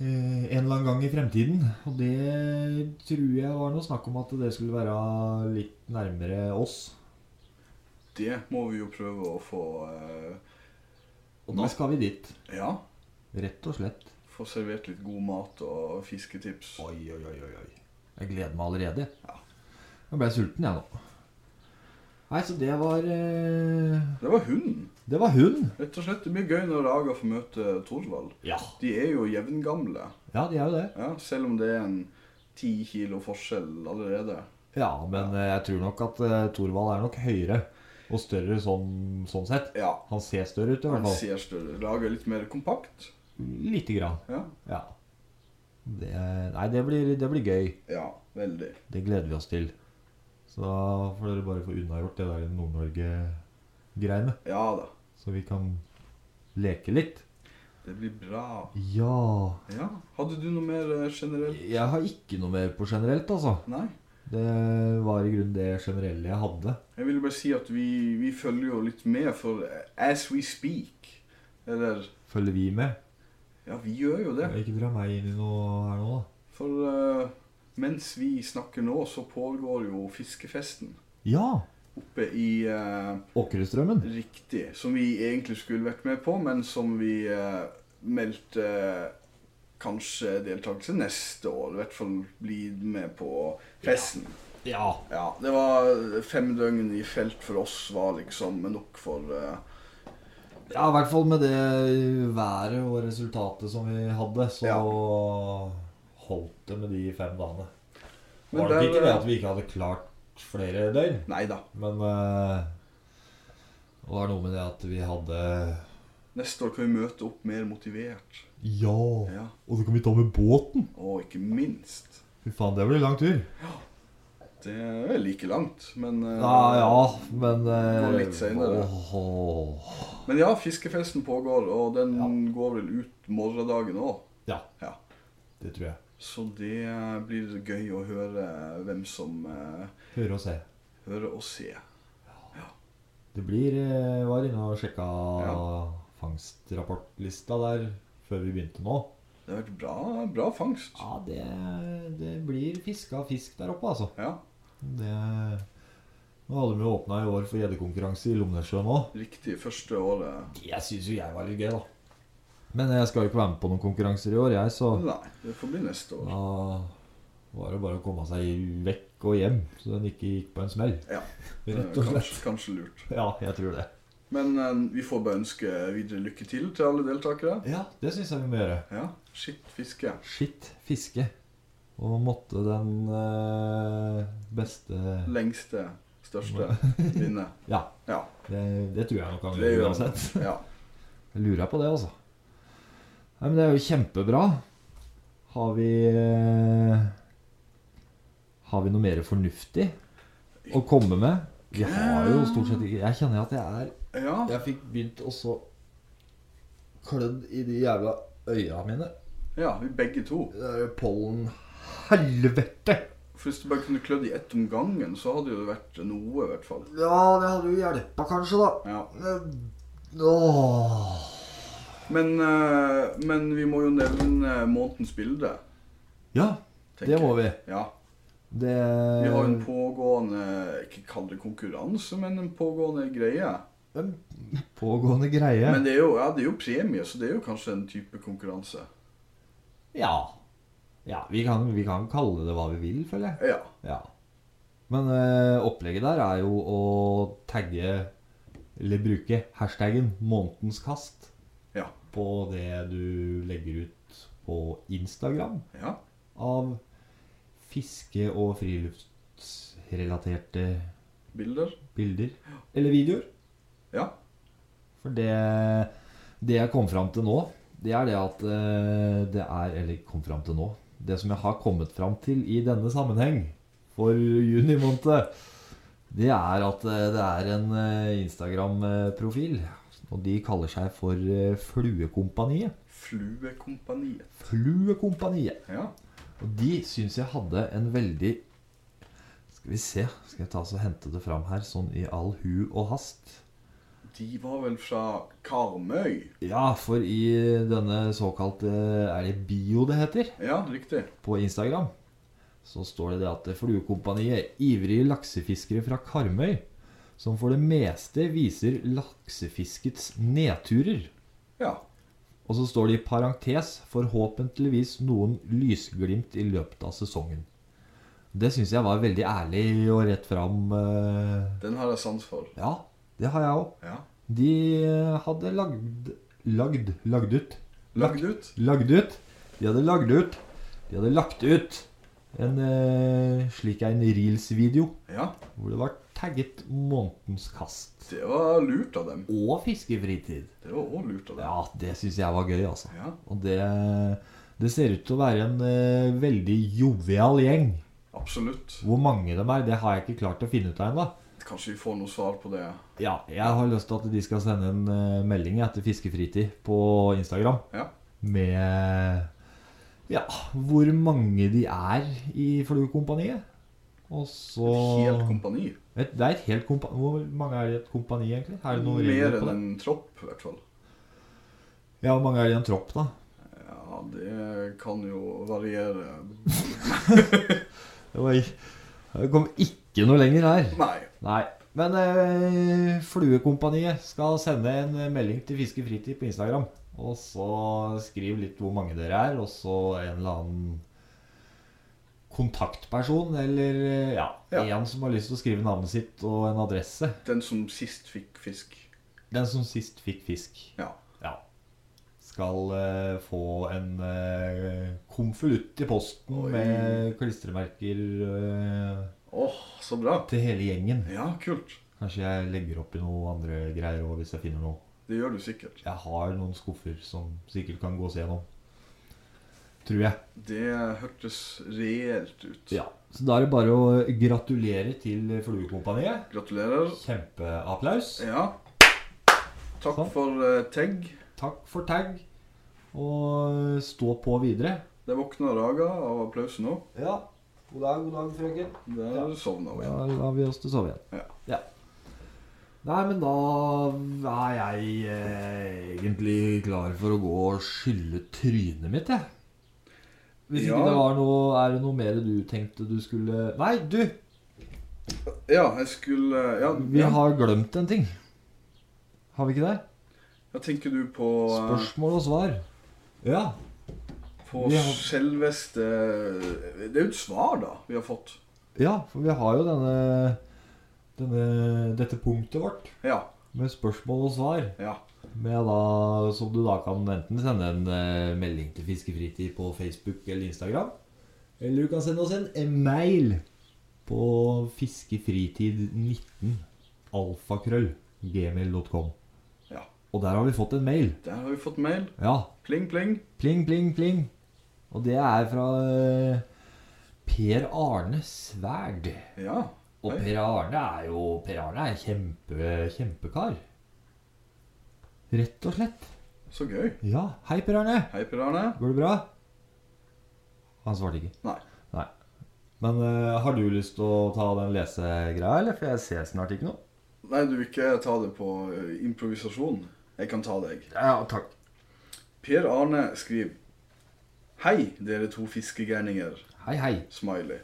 [SPEAKER 2] Eh, En eller annen gang i fremtiden. Og det tror jeg var noe snakk om at det skulle være litt nærmere oss.
[SPEAKER 3] Det må vi jo prøve å få eh,
[SPEAKER 2] Og da skal vi dit.
[SPEAKER 3] Ja,
[SPEAKER 2] Rett og slett.
[SPEAKER 3] få servert litt god mat og fisketips.
[SPEAKER 2] Oi, oi, oi, oi. oi. Jeg gleder meg allerede.
[SPEAKER 3] Ja.
[SPEAKER 2] Jeg ble sulten, jeg nå. Nei, så det var eh,
[SPEAKER 3] Det var hunden.
[SPEAKER 2] Det var hun.
[SPEAKER 3] Rett og slett. Det blir gøy når Raga får møte Torvald.
[SPEAKER 2] Ja.
[SPEAKER 3] De er jo jevngamle,
[SPEAKER 2] Ja, de er jo det.
[SPEAKER 3] ja, selv om det er en ti kilo forskjell allerede.
[SPEAKER 2] Ja, men eh, jeg tror nok at eh, Thorvald er nok høyere og større sånn, sånn sett.
[SPEAKER 3] Ja.
[SPEAKER 2] Han ser større ut i hvert
[SPEAKER 3] Han
[SPEAKER 2] fall.
[SPEAKER 3] ser større. Raga er litt mer kompakt.
[SPEAKER 2] Lite grann.
[SPEAKER 3] Ja,
[SPEAKER 2] Ja. Det, nei, det blir, det blir gøy.
[SPEAKER 3] ja veldig.
[SPEAKER 2] Det gleder vi oss til. Så da får dere bare få unnagjort det der Nord-Norge-greiene.
[SPEAKER 3] Ja da.
[SPEAKER 2] Så vi kan leke litt.
[SPEAKER 3] Det blir bra.
[SPEAKER 2] Ja
[SPEAKER 3] Ja. Hadde du noe mer eh, generelt?
[SPEAKER 2] Jeg har ikke noe mer på generelt, altså.
[SPEAKER 3] Nei?
[SPEAKER 2] Det var i grunnen det generelle jeg hadde.
[SPEAKER 3] Jeg vil bare si at vi, vi følger jo litt med, for eh, as we speak Eller
[SPEAKER 2] Følger vi med?
[SPEAKER 3] Ja, vi gjør jo det.
[SPEAKER 2] Ikke dra meg inn i noe her nå, da.
[SPEAKER 3] For eh, mens vi snakker nå, så pågår jo fiskefesten
[SPEAKER 2] Ja!
[SPEAKER 3] oppe i eh,
[SPEAKER 2] Åkrestrømmen.
[SPEAKER 3] Riktig. Som vi egentlig skulle vært med på, men som vi eh, meldte eh, kanskje deltakelse neste år. I hvert fall bli med på festen.
[SPEAKER 2] Ja.
[SPEAKER 3] Ja, det var fem døgn i felt for oss var liksom nok for eh,
[SPEAKER 2] Ja, i hvert fall med det været og resultatet som vi hadde, så
[SPEAKER 3] Ja.
[SPEAKER 2] holdt det med de fem dagene. Det
[SPEAKER 3] Men
[SPEAKER 2] var nok
[SPEAKER 3] der-
[SPEAKER 2] ikke det at vi ikke hadde klart flere døgn,
[SPEAKER 3] Nei da.
[SPEAKER 2] men eh, det var noe med det at vi hadde
[SPEAKER 3] Neste år kan vi møte opp mer motivert.
[SPEAKER 2] Ja! Og
[SPEAKER 3] Ja,
[SPEAKER 2] så kan vi ta med båten!
[SPEAKER 3] Og ikke minst
[SPEAKER 2] Fy faen, det blir lang tur.
[SPEAKER 3] Det er like langt, men eh,
[SPEAKER 2] Ja, ja, men eh,
[SPEAKER 3] Gå litt senere.
[SPEAKER 2] åh.
[SPEAKER 3] Men ja, fiskefesten pågår, og den
[SPEAKER 2] Ja.
[SPEAKER 3] går vel ut morgendagen òg.
[SPEAKER 2] Ja,
[SPEAKER 3] Ja.
[SPEAKER 2] det tror jeg.
[SPEAKER 3] Så det blir gøy å høre hvem som eh,
[SPEAKER 2] Høre og se.
[SPEAKER 3] hører og ser.
[SPEAKER 2] Det blir eh, Var inne og sjekka
[SPEAKER 3] Ja.
[SPEAKER 2] fangstrapportlista der før vi begynte nå.
[SPEAKER 3] Det har vært bra, bra fangst.
[SPEAKER 2] Ja, det, det blir fiska fisk der oppe, altså.
[SPEAKER 3] Ja,
[SPEAKER 2] Det Nå hadde vi jo åpna i år for gjeddekonkurranse i Lomnessjøen òg.
[SPEAKER 3] riktig. Første året.
[SPEAKER 2] Jeg syns jo jeg var litt gøy, da. Men jeg skal jo ikke være med på noen konkurranser i år, jeg, så
[SPEAKER 3] Nei, det får bli neste år.
[SPEAKER 2] da var det bare å komme seg vekk og hjem, så den ikke gikk på en smell.
[SPEAKER 3] Ja, det er
[SPEAKER 2] Rett og slett.
[SPEAKER 3] kanskje, kanskje lurt.
[SPEAKER 2] Ja, jeg tror det.
[SPEAKER 3] Men eh, vi får bare ønske videre lykke til til alle deltakere.
[SPEAKER 2] Ja, det syns jeg vi må gjøre.
[SPEAKER 3] Ja, skitt fiske.
[SPEAKER 2] Skitt fiske. Og måtte den eh, beste
[SPEAKER 3] Lengste, største vinne.
[SPEAKER 2] Ja,
[SPEAKER 3] Ja.
[SPEAKER 2] det, det tror jeg nok han
[SPEAKER 3] Det
[SPEAKER 2] gjør
[SPEAKER 3] gjør han.
[SPEAKER 2] uansett.
[SPEAKER 3] ja.
[SPEAKER 2] Jeg lurer på det, altså. Nei, men det er jo kjempebra. Har vi eh, Har vi noe mer fornuftig å komme med? Vi har jo stort sett ikke Jeg kjenner at jeg er
[SPEAKER 3] ja.
[SPEAKER 2] Jeg fikk begynt å så klødd i de jævla øya mine.
[SPEAKER 3] Ja, vi begge to.
[SPEAKER 2] Det er jo pollenhelvete!
[SPEAKER 3] For hvis du bare kunne klødd i ett om gangen, så hadde jo det vært noe, i hvert fall.
[SPEAKER 2] Ja, det hadde jo hjelpa kanskje, da.
[SPEAKER 3] Ja.
[SPEAKER 2] Men- Åh.
[SPEAKER 3] Men, eh, men vi må jo nevne månedens bilde.
[SPEAKER 2] Ja,
[SPEAKER 3] tenker
[SPEAKER 2] det må vi.
[SPEAKER 3] jeg. Ja.
[SPEAKER 2] Det
[SPEAKER 3] Vi har jo en pågående Ikke kall det konkurranse, men en pågående greie.
[SPEAKER 2] en pågående greie.
[SPEAKER 3] Men det er, jo, ja, det er jo premie, så det er jo kanskje en type konkurranse.
[SPEAKER 2] Ja. ja vi, kan, vi kan kalle det hva vi vil, føler jeg.
[SPEAKER 3] Ja.
[SPEAKER 2] Ja. Men eh, opplegget der er jo å tagge Eller bruke hashtaggen 'månedens kast'
[SPEAKER 3] Ja.
[SPEAKER 2] på det du legger ut på Instagram
[SPEAKER 3] ja.
[SPEAKER 2] av fiske- og friluftsrelaterte
[SPEAKER 3] Bilder.
[SPEAKER 2] bilder. Eller videoer.
[SPEAKER 3] Ja.
[SPEAKER 2] For det, det jeg kom fram til nå, det er det at eh, det er Eller kom fram til nå. Det som jeg har kommet fram til i denne sammenheng for juni måned, det er at eh, det er en eh, Instagram-profil. Og de kaller seg for eh, Fluekompaniet.
[SPEAKER 3] Fluekompaniet.
[SPEAKER 2] Fluekompaniet.
[SPEAKER 3] Ja.
[SPEAKER 2] Og de syns jeg hadde en veldig Skal vi se. Skal jeg ta så hente det fram her, sånn i all hu og hast.
[SPEAKER 3] De var vel fra Karmøy?
[SPEAKER 2] Ja, for i denne såkalte Er det bio det heter?
[SPEAKER 3] Ja, riktig.
[SPEAKER 2] På Instagram. Så står det det at Fluekompaniet, ivrige laksefiskere fra Karmøy, som for det meste viser laksefiskets nedturer.
[SPEAKER 3] Ja.
[SPEAKER 2] Og så står det i parentes 'forhåpentligvis noen lysglimt i løpet av sesongen'. Det syns jeg var veldig ærlig og rett fram. eh,
[SPEAKER 3] Den har jeg sans for.
[SPEAKER 2] Ja, det har jeg òg.
[SPEAKER 3] Ja.
[SPEAKER 2] De eh, hadde lagd Lagd, lagd ut
[SPEAKER 3] Lagd ut.
[SPEAKER 2] lagd ut. De hadde lagd ut. De hadde lagt ut en eh, slik en reels-video
[SPEAKER 3] Ja.
[SPEAKER 2] hvor det var tagget 'Månedens kast'
[SPEAKER 3] Det var lurt av dem.
[SPEAKER 2] og 'Fiskefritid'.
[SPEAKER 3] Det var også lurt av dem.
[SPEAKER 2] Ja, det syns jeg var gøy, altså.
[SPEAKER 3] Ja.
[SPEAKER 2] Og det, det ser ut til å være en eh, veldig jovial gjeng.
[SPEAKER 3] Absolutt.
[SPEAKER 2] Hvor mange de er, det har jeg ikke klart å finne ut av ennå.
[SPEAKER 3] Kanskje vi får noe svar på det.
[SPEAKER 2] Ja, jeg har lyst til at de skal sende en eh, melding etter Fiskefritid på Instagram.
[SPEAKER 3] Ja.
[SPEAKER 2] med ja, hvor mange de er i fluekompaniet. Og så
[SPEAKER 3] Helt kompani.
[SPEAKER 2] et, Det er et helt kompani Hvor mange er det i et kompani, egentlig? Er det noen
[SPEAKER 3] Mer
[SPEAKER 2] regler på
[SPEAKER 3] enn
[SPEAKER 2] det?
[SPEAKER 3] en tropp, i hvert fall.
[SPEAKER 2] Ja, hvor mange er det i en tropp, da?
[SPEAKER 3] Ja, det kan jo variere.
[SPEAKER 2] Det var ikke- Jeg kom ikke noe lenger her.
[SPEAKER 3] Nei.
[SPEAKER 2] Nei. Men eh, Fluekompaniet skal sende en eh, melding til Fiskefritid på Instagram. Og så skriv litt hvor mange dere er, og så en eller annen kontaktperson, eller eh, ja,
[SPEAKER 3] Ja.
[SPEAKER 2] en som har lyst til å skrive navnet sitt og en adresse.
[SPEAKER 3] Den som sist fikk fisk.
[SPEAKER 2] Den som sist fikk fisk,
[SPEAKER 3] Ja.
[SPEAKER 2] ja, skal eh, få en eh, konvolutt i posten
[SPEAKER 3] Oi.
[SPEAKER 2] med klistremerker eh,
[SPEAKER 3] Åh, så bra.
[SPEAKER 2] til hele gjengen.
[SPEAKER 3] Ja, kult.
[SPEAKER 2] Kanskje jeg legger opp i noe andre greier òg, hvis jeg finner noe.
[SPEAKER 3] Det gjør du sikkert.
[SPEAKER 2] Jeg har noen skuffer som sikkert kan gås gjennom. Tror jeg.
[SPEAKER 3] Det hørtes reelt ut.
[SPEAKER 2] Ja. Så da er det bare å gratulere til Fluekompaniet.
[SPEAKER 3] Gratulerer.
[SPEAKER 2] Kjempeapplaus.
[SPEAKER 3] Ja. Takk
[SPEAKER 2] Sånn.
[SPEAKER 3] for eh, tagg.
[SPEAKER 2] Takk for tag. Og stå på videre.
[SPEAKER 3] Det våkna Raga av applausen òg.
[SPEAKER 2] Ja. God dag, god dag, frøken.
[SPEAKER 3] Der
[SPEAKER 2] Ja.
[SPEAKER 3] sovna hun
[SPEAKER 2] Da
[SPEAKER 3] igjen.
[SPEAKER 2] lar vi oss til å sove igjen. Ja. Nei, men da er jeg eh, egentlig klar for å gå og skylle trynet mitt, jeg. Hvis
[SPEAKER 3] Ja.
[SPEAKER 2] ikke det var noe Er det noe mer du tenkte du skulle Nei, du!
[SPEAKER 3] Ja, jeg skulle eh, Ja,
[SPEAKER 2] Vi
[SPEAKER 3] ja.
[SPEAKER 2] har glemt en ting. Har vi ikke det?
[SPEAKER 3] ja tenker du på, eh,
[SPEAKER 2] Spørsmål og svar. Ja.
[SPEAKER 3] på
[SPEAKER 2] Vi har-
[SPEAKER 3] selveste eh, Det er jo et svar, da, vi har fått.
[SPEAKER 2] ja, for vi har jo denne, denne dette punktet vårt
[SPEAKER 3] Ja.
[SPEAKER 2] med spørsmål og svar.
[SPEAKER 3] Ja.
[SPEAKER 2] Med da, som du da kan enten sende en eh, melding til Fiskefritid på Facebook eller Instagram. Eller du kan sende oss en e-mail på fiskefritid19 alfakrøll gmail.com.
[SPEAKER 3] Ja.
[SPEAKER 2] Og der har vi fått en mail.
[SPEAKER 3] Der har vi fått mail.
[SPEAKER 2] Ja,
[SPEAKER 3] Pling, pling.
[SPEAKER 2] Pling, pling, pling. Og det er fra eh, Per Arne Sverd.
[SPEAKER 3] Ja.
[SPEAKER 2] Og
[SPEAKER 3] Hei.
[SPEAKER 2] Per Arne er jo Per Arne er kjempe, kjempekar. Rett og slett.
[SPEAKER 3] Så gøy.
[SPEAKER 2] Ja. Hei, Per Arne.
[SPEAKER 3] Hei, Per Arne.
[SPEAKER 2] Går det bra? Han svarte ikke.
[SPEAKER 3] Nei.
[SPEAKER 2] Nei. Men eh, har du lyst til å ta den lesegreia, eller? For jeg ser snart ikke noe.
[SPEAKER 3] Nei, du vil ikke ta det på eh, improvisasjon. Jeg kan ta deg.
[SPEAKER 2] Ja, takk.
[SPEAKER 3] Per Arne skriver Hei, dere to fiskegærninger.
[SPEAKER 2] Hei, hei.
[SPEAKER 3] Smiley.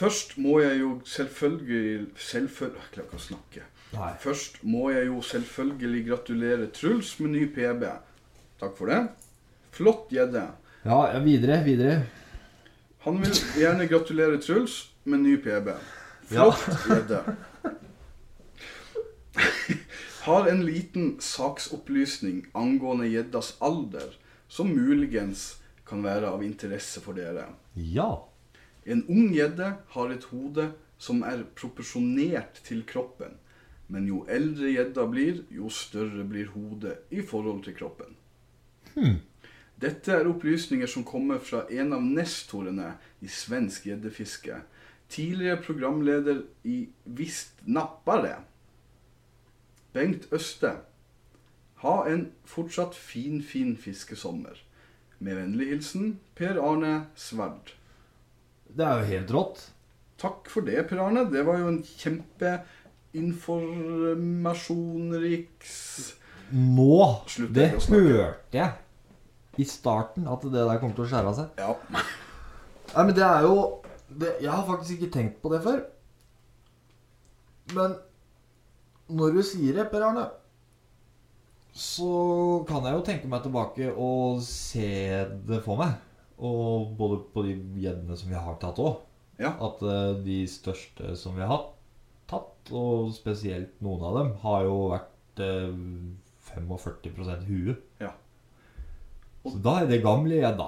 [SPEAKER 3] Først må jeg jo selvfølgelig Selvfølgelig Jeg klarer ikke å snakke.
[SPEAKER 2] Nei.
[SPEAKER 3] Først må jeg jo selvfølgelig gratulere Truls med ny PB. Takk for det. Flott gjedde.
[SPEAKER 2] Ja, ja, videre, videre.
[SPEAKER 3] Han vil gjerne gratulere Truls med ny PB. Flott gjedde. Har en liten saksopplysning angående gjeddas alder, som muligens kan være av interesse for dere.
[SPEAKER 2] Ja.
[SPEAKER 3] En ung gjedde har et hode som er proporsjonert til kroppen. Men jo eldre gjedda blir, jo større blir hodet i forhold til kroppen. Dette er opplysninger som kommer fra en av nestorene i svensk gjeddefiske. Tidligere programleder i Visst nappare, Bengt Øste. Ha en fortsatt fin, fin fiskesommer. Med vennlig hilsen Per Arne Sverd.
[SPEAKER 2] Det er jo helt rått.
[SPEAKER 3] Takk for det, Per Arne. Det var jo en kjempeinformasjonriks
[SPEAKER 2] Nå!
[SPEAKER 3] Slutt
[SPEAKER 2] Det
[SPEAKER 3] å snakke.
[SPEAKER 2] hørte jeg i starten, at det der kommer til å skjære av seg.
[SPEAKER 3] Ja.
[SPEAKER 2] Nei, men det er jo det, Jeg har faktisk ikke tenkt på det før. Men når du sier det, Per Arne, så kan jeg jo tenke meg tilbake og se det for meg. Og både på de gjeddene som vi har tatt òg.
[SPEAKER 3] Ja.
[SPEAKER 2] At eh, de største som vi har hatt, tatt, og spesielt noen av dem, har jo vært eh, 45 hue.
[SPEAKER 3] Ja.
[SPEAKER 2] Så da er det gamle gjedda.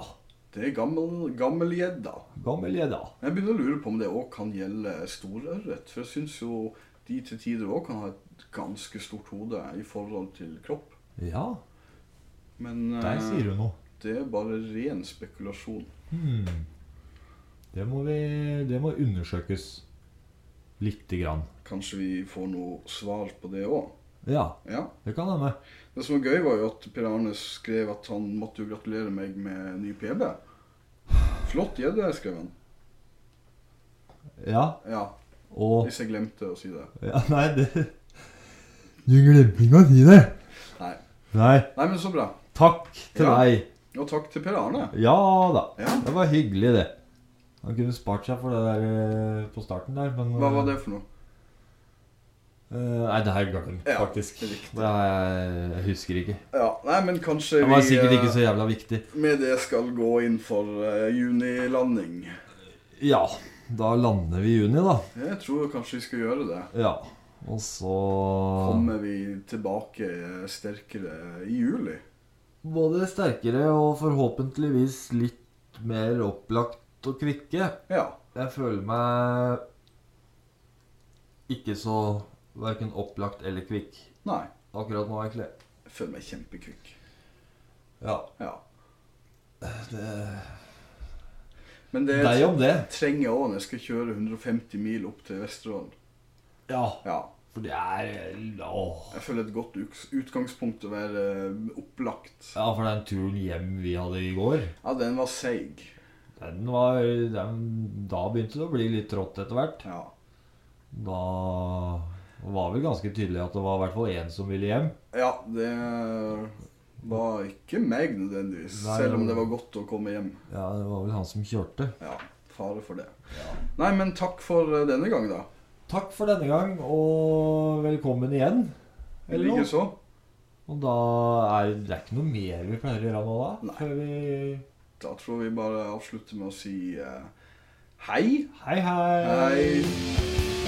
[SPEAKER 3] Det er gammel, gammel gjedda.
[SPEAKER 2] Gammel gjedda.
[SPEAKER 3] Jeg begynner å lure på om det òg kan gjelde storørret. For jeg syns jo de til tider òg kan ha et ganske stort hode i forhold til kropp.
[SPEAKER 2] Ja,
[SPEAKER 3] Men eh,
[SPEAKER 2] der sier du noe.
[SPEAKER 3] det er bare ren spekulasjon.
[SPEAKER 2] Hmm. Det må vi Det må undersøkes lite grann.
[SPEAKER 3] Kanskje vi får noe svar på det òg.
[SPEAKER 2] Ja,
[SPEAKER 3] Ja.
[SPEAKER 2] det kan hende.
[SPEAKER 3] Det som var gøy, var jo at Per Arne skrev at han måtte jo gratulere meg med ny PB. Flott gjedde, skrev han.
[SPEAKER 2] Ja,
[SPEAKER 3] Ja,
[SPEAKER 2] og
[SPEAKER 3] hvis jeg glemte å si det.
[SPEAKER 2] ja, Nei, det Du glemte ikke å si det!
[SPEAKER 3] Nei.
[SPEAKER 2] Nei.
[SPEAKER 3] Nei, men så bra.
[SPEAKER 2] Takk til
[SPEAKER 3] Ja.
[SPEAKER 2] deg.
[SPEAKER 3] Og takk til Per Arne.
[SPEAKER 2] Ja da.
[SPEAKER 3] Ja.
[SPEAKER 2] Det var hyggelig, det. Han kunne spart seg for det der eh, på starten der, men
[SPEAKER 3] Hva var det for noe?
[SPEAKER 2] eh, Nei, det her glemte jeg
[SPEAKER 3] Ja,
[SPEAKER 2] faktisk.
[SPEAKER 3] det er
[SPEAKER 2] Det har jeg, jeg husker ikke.
[SPEAKER 3] Ja, Nei, men kanskje
[SPEAKER 2] Det var
[SPEAKER 3] vi
[SPEAKER 2] sikkert
[SPEAKER 3] eh,
[SPEAKER 2] ikke så jævla viktig.
[SPEAKER 3] med det skal gå inn for eh, junilanding.
[SPEAKER 2] Ja, da lander vi i juni, da.
[SPEAKER 3] Jeg tror kanskje vi skal gjøre det.
[SPEAKER 2] Ja. Og så
[SPEAKER 3] Kommer vi tilbake eh, sterkere i juli?
[SPEAKER 2] Både sterkere og forhåpentligvis litt mer opplagt og kvikke.
[SPEAKER 3] Ja.
[SPEAKER 2] Jeg føler meg ikke så verken opplagt eller kvikk
[SPEAKER 3] Nei.
[SPEAKER 2] akkurat nå, egentlig.
[SPEAKER 3] Jeg føler meg kjempekvikk.
[SPEAKER 2] Ja.
[SPEAKER 3] Ja. Men det
[SPEAKER 2] Deg om det.
[SPEAKER 3] trenger jeg òg når jeg skal kjøre 150 mil opp til Vesterålen.
[SPEAKER 2] Ja.
[SPEAKER 3] Ja.
[SPEAKER 2] For det er Åh.
[SPEAKER 3] Jeg føler et godt uks- utgangspunkt å være eh, opplagt.
[SPEAKER 2] Ja, for den turen hjem vi hadde i går,
[SPEAKER 3] Ja, den var seig.
[SPEAKER 2] den var den, Da begynte det å bli litt trått etter hvert.
[SPEAKER 3] Ja.
[SPEAKER 2] Da var vel ganske tydelig at det var i hvert fall én som ville hjem.
[SPEAKER 3] ja, det var ikke meg nødvendigvis,
[SPEAKER 2] Nei,
[SPEAKER 3] selv om
[SPEAKER 2] det
[SPEAKER 3] det
[SPEAKER 2] var-
[SPEAKER 3] var godt å komme hjem.
[SPEAKER 2] Ja, det var vel han som kjørte.
[SPEAKER 3] Ja, fare for det. Nei, men takk for eh, denne gang, da.
[SPEAKER 2] Takk for denne gang, og velkommen igjen. Eller noe.
[SPEAKER 3] Likeså.
[SPEAKER 2] Og da er det er ikke noe mer vi pleier å gjøre nå da?
[SPEAKER 3] Nei.
[SPEAKER 2] Før vi
[SPEAKER 3] Da tror vi bare avslutter med å si eh, hei.
[SPEAKER 2] Hei, hei!
[SPEAKER 3] Hei.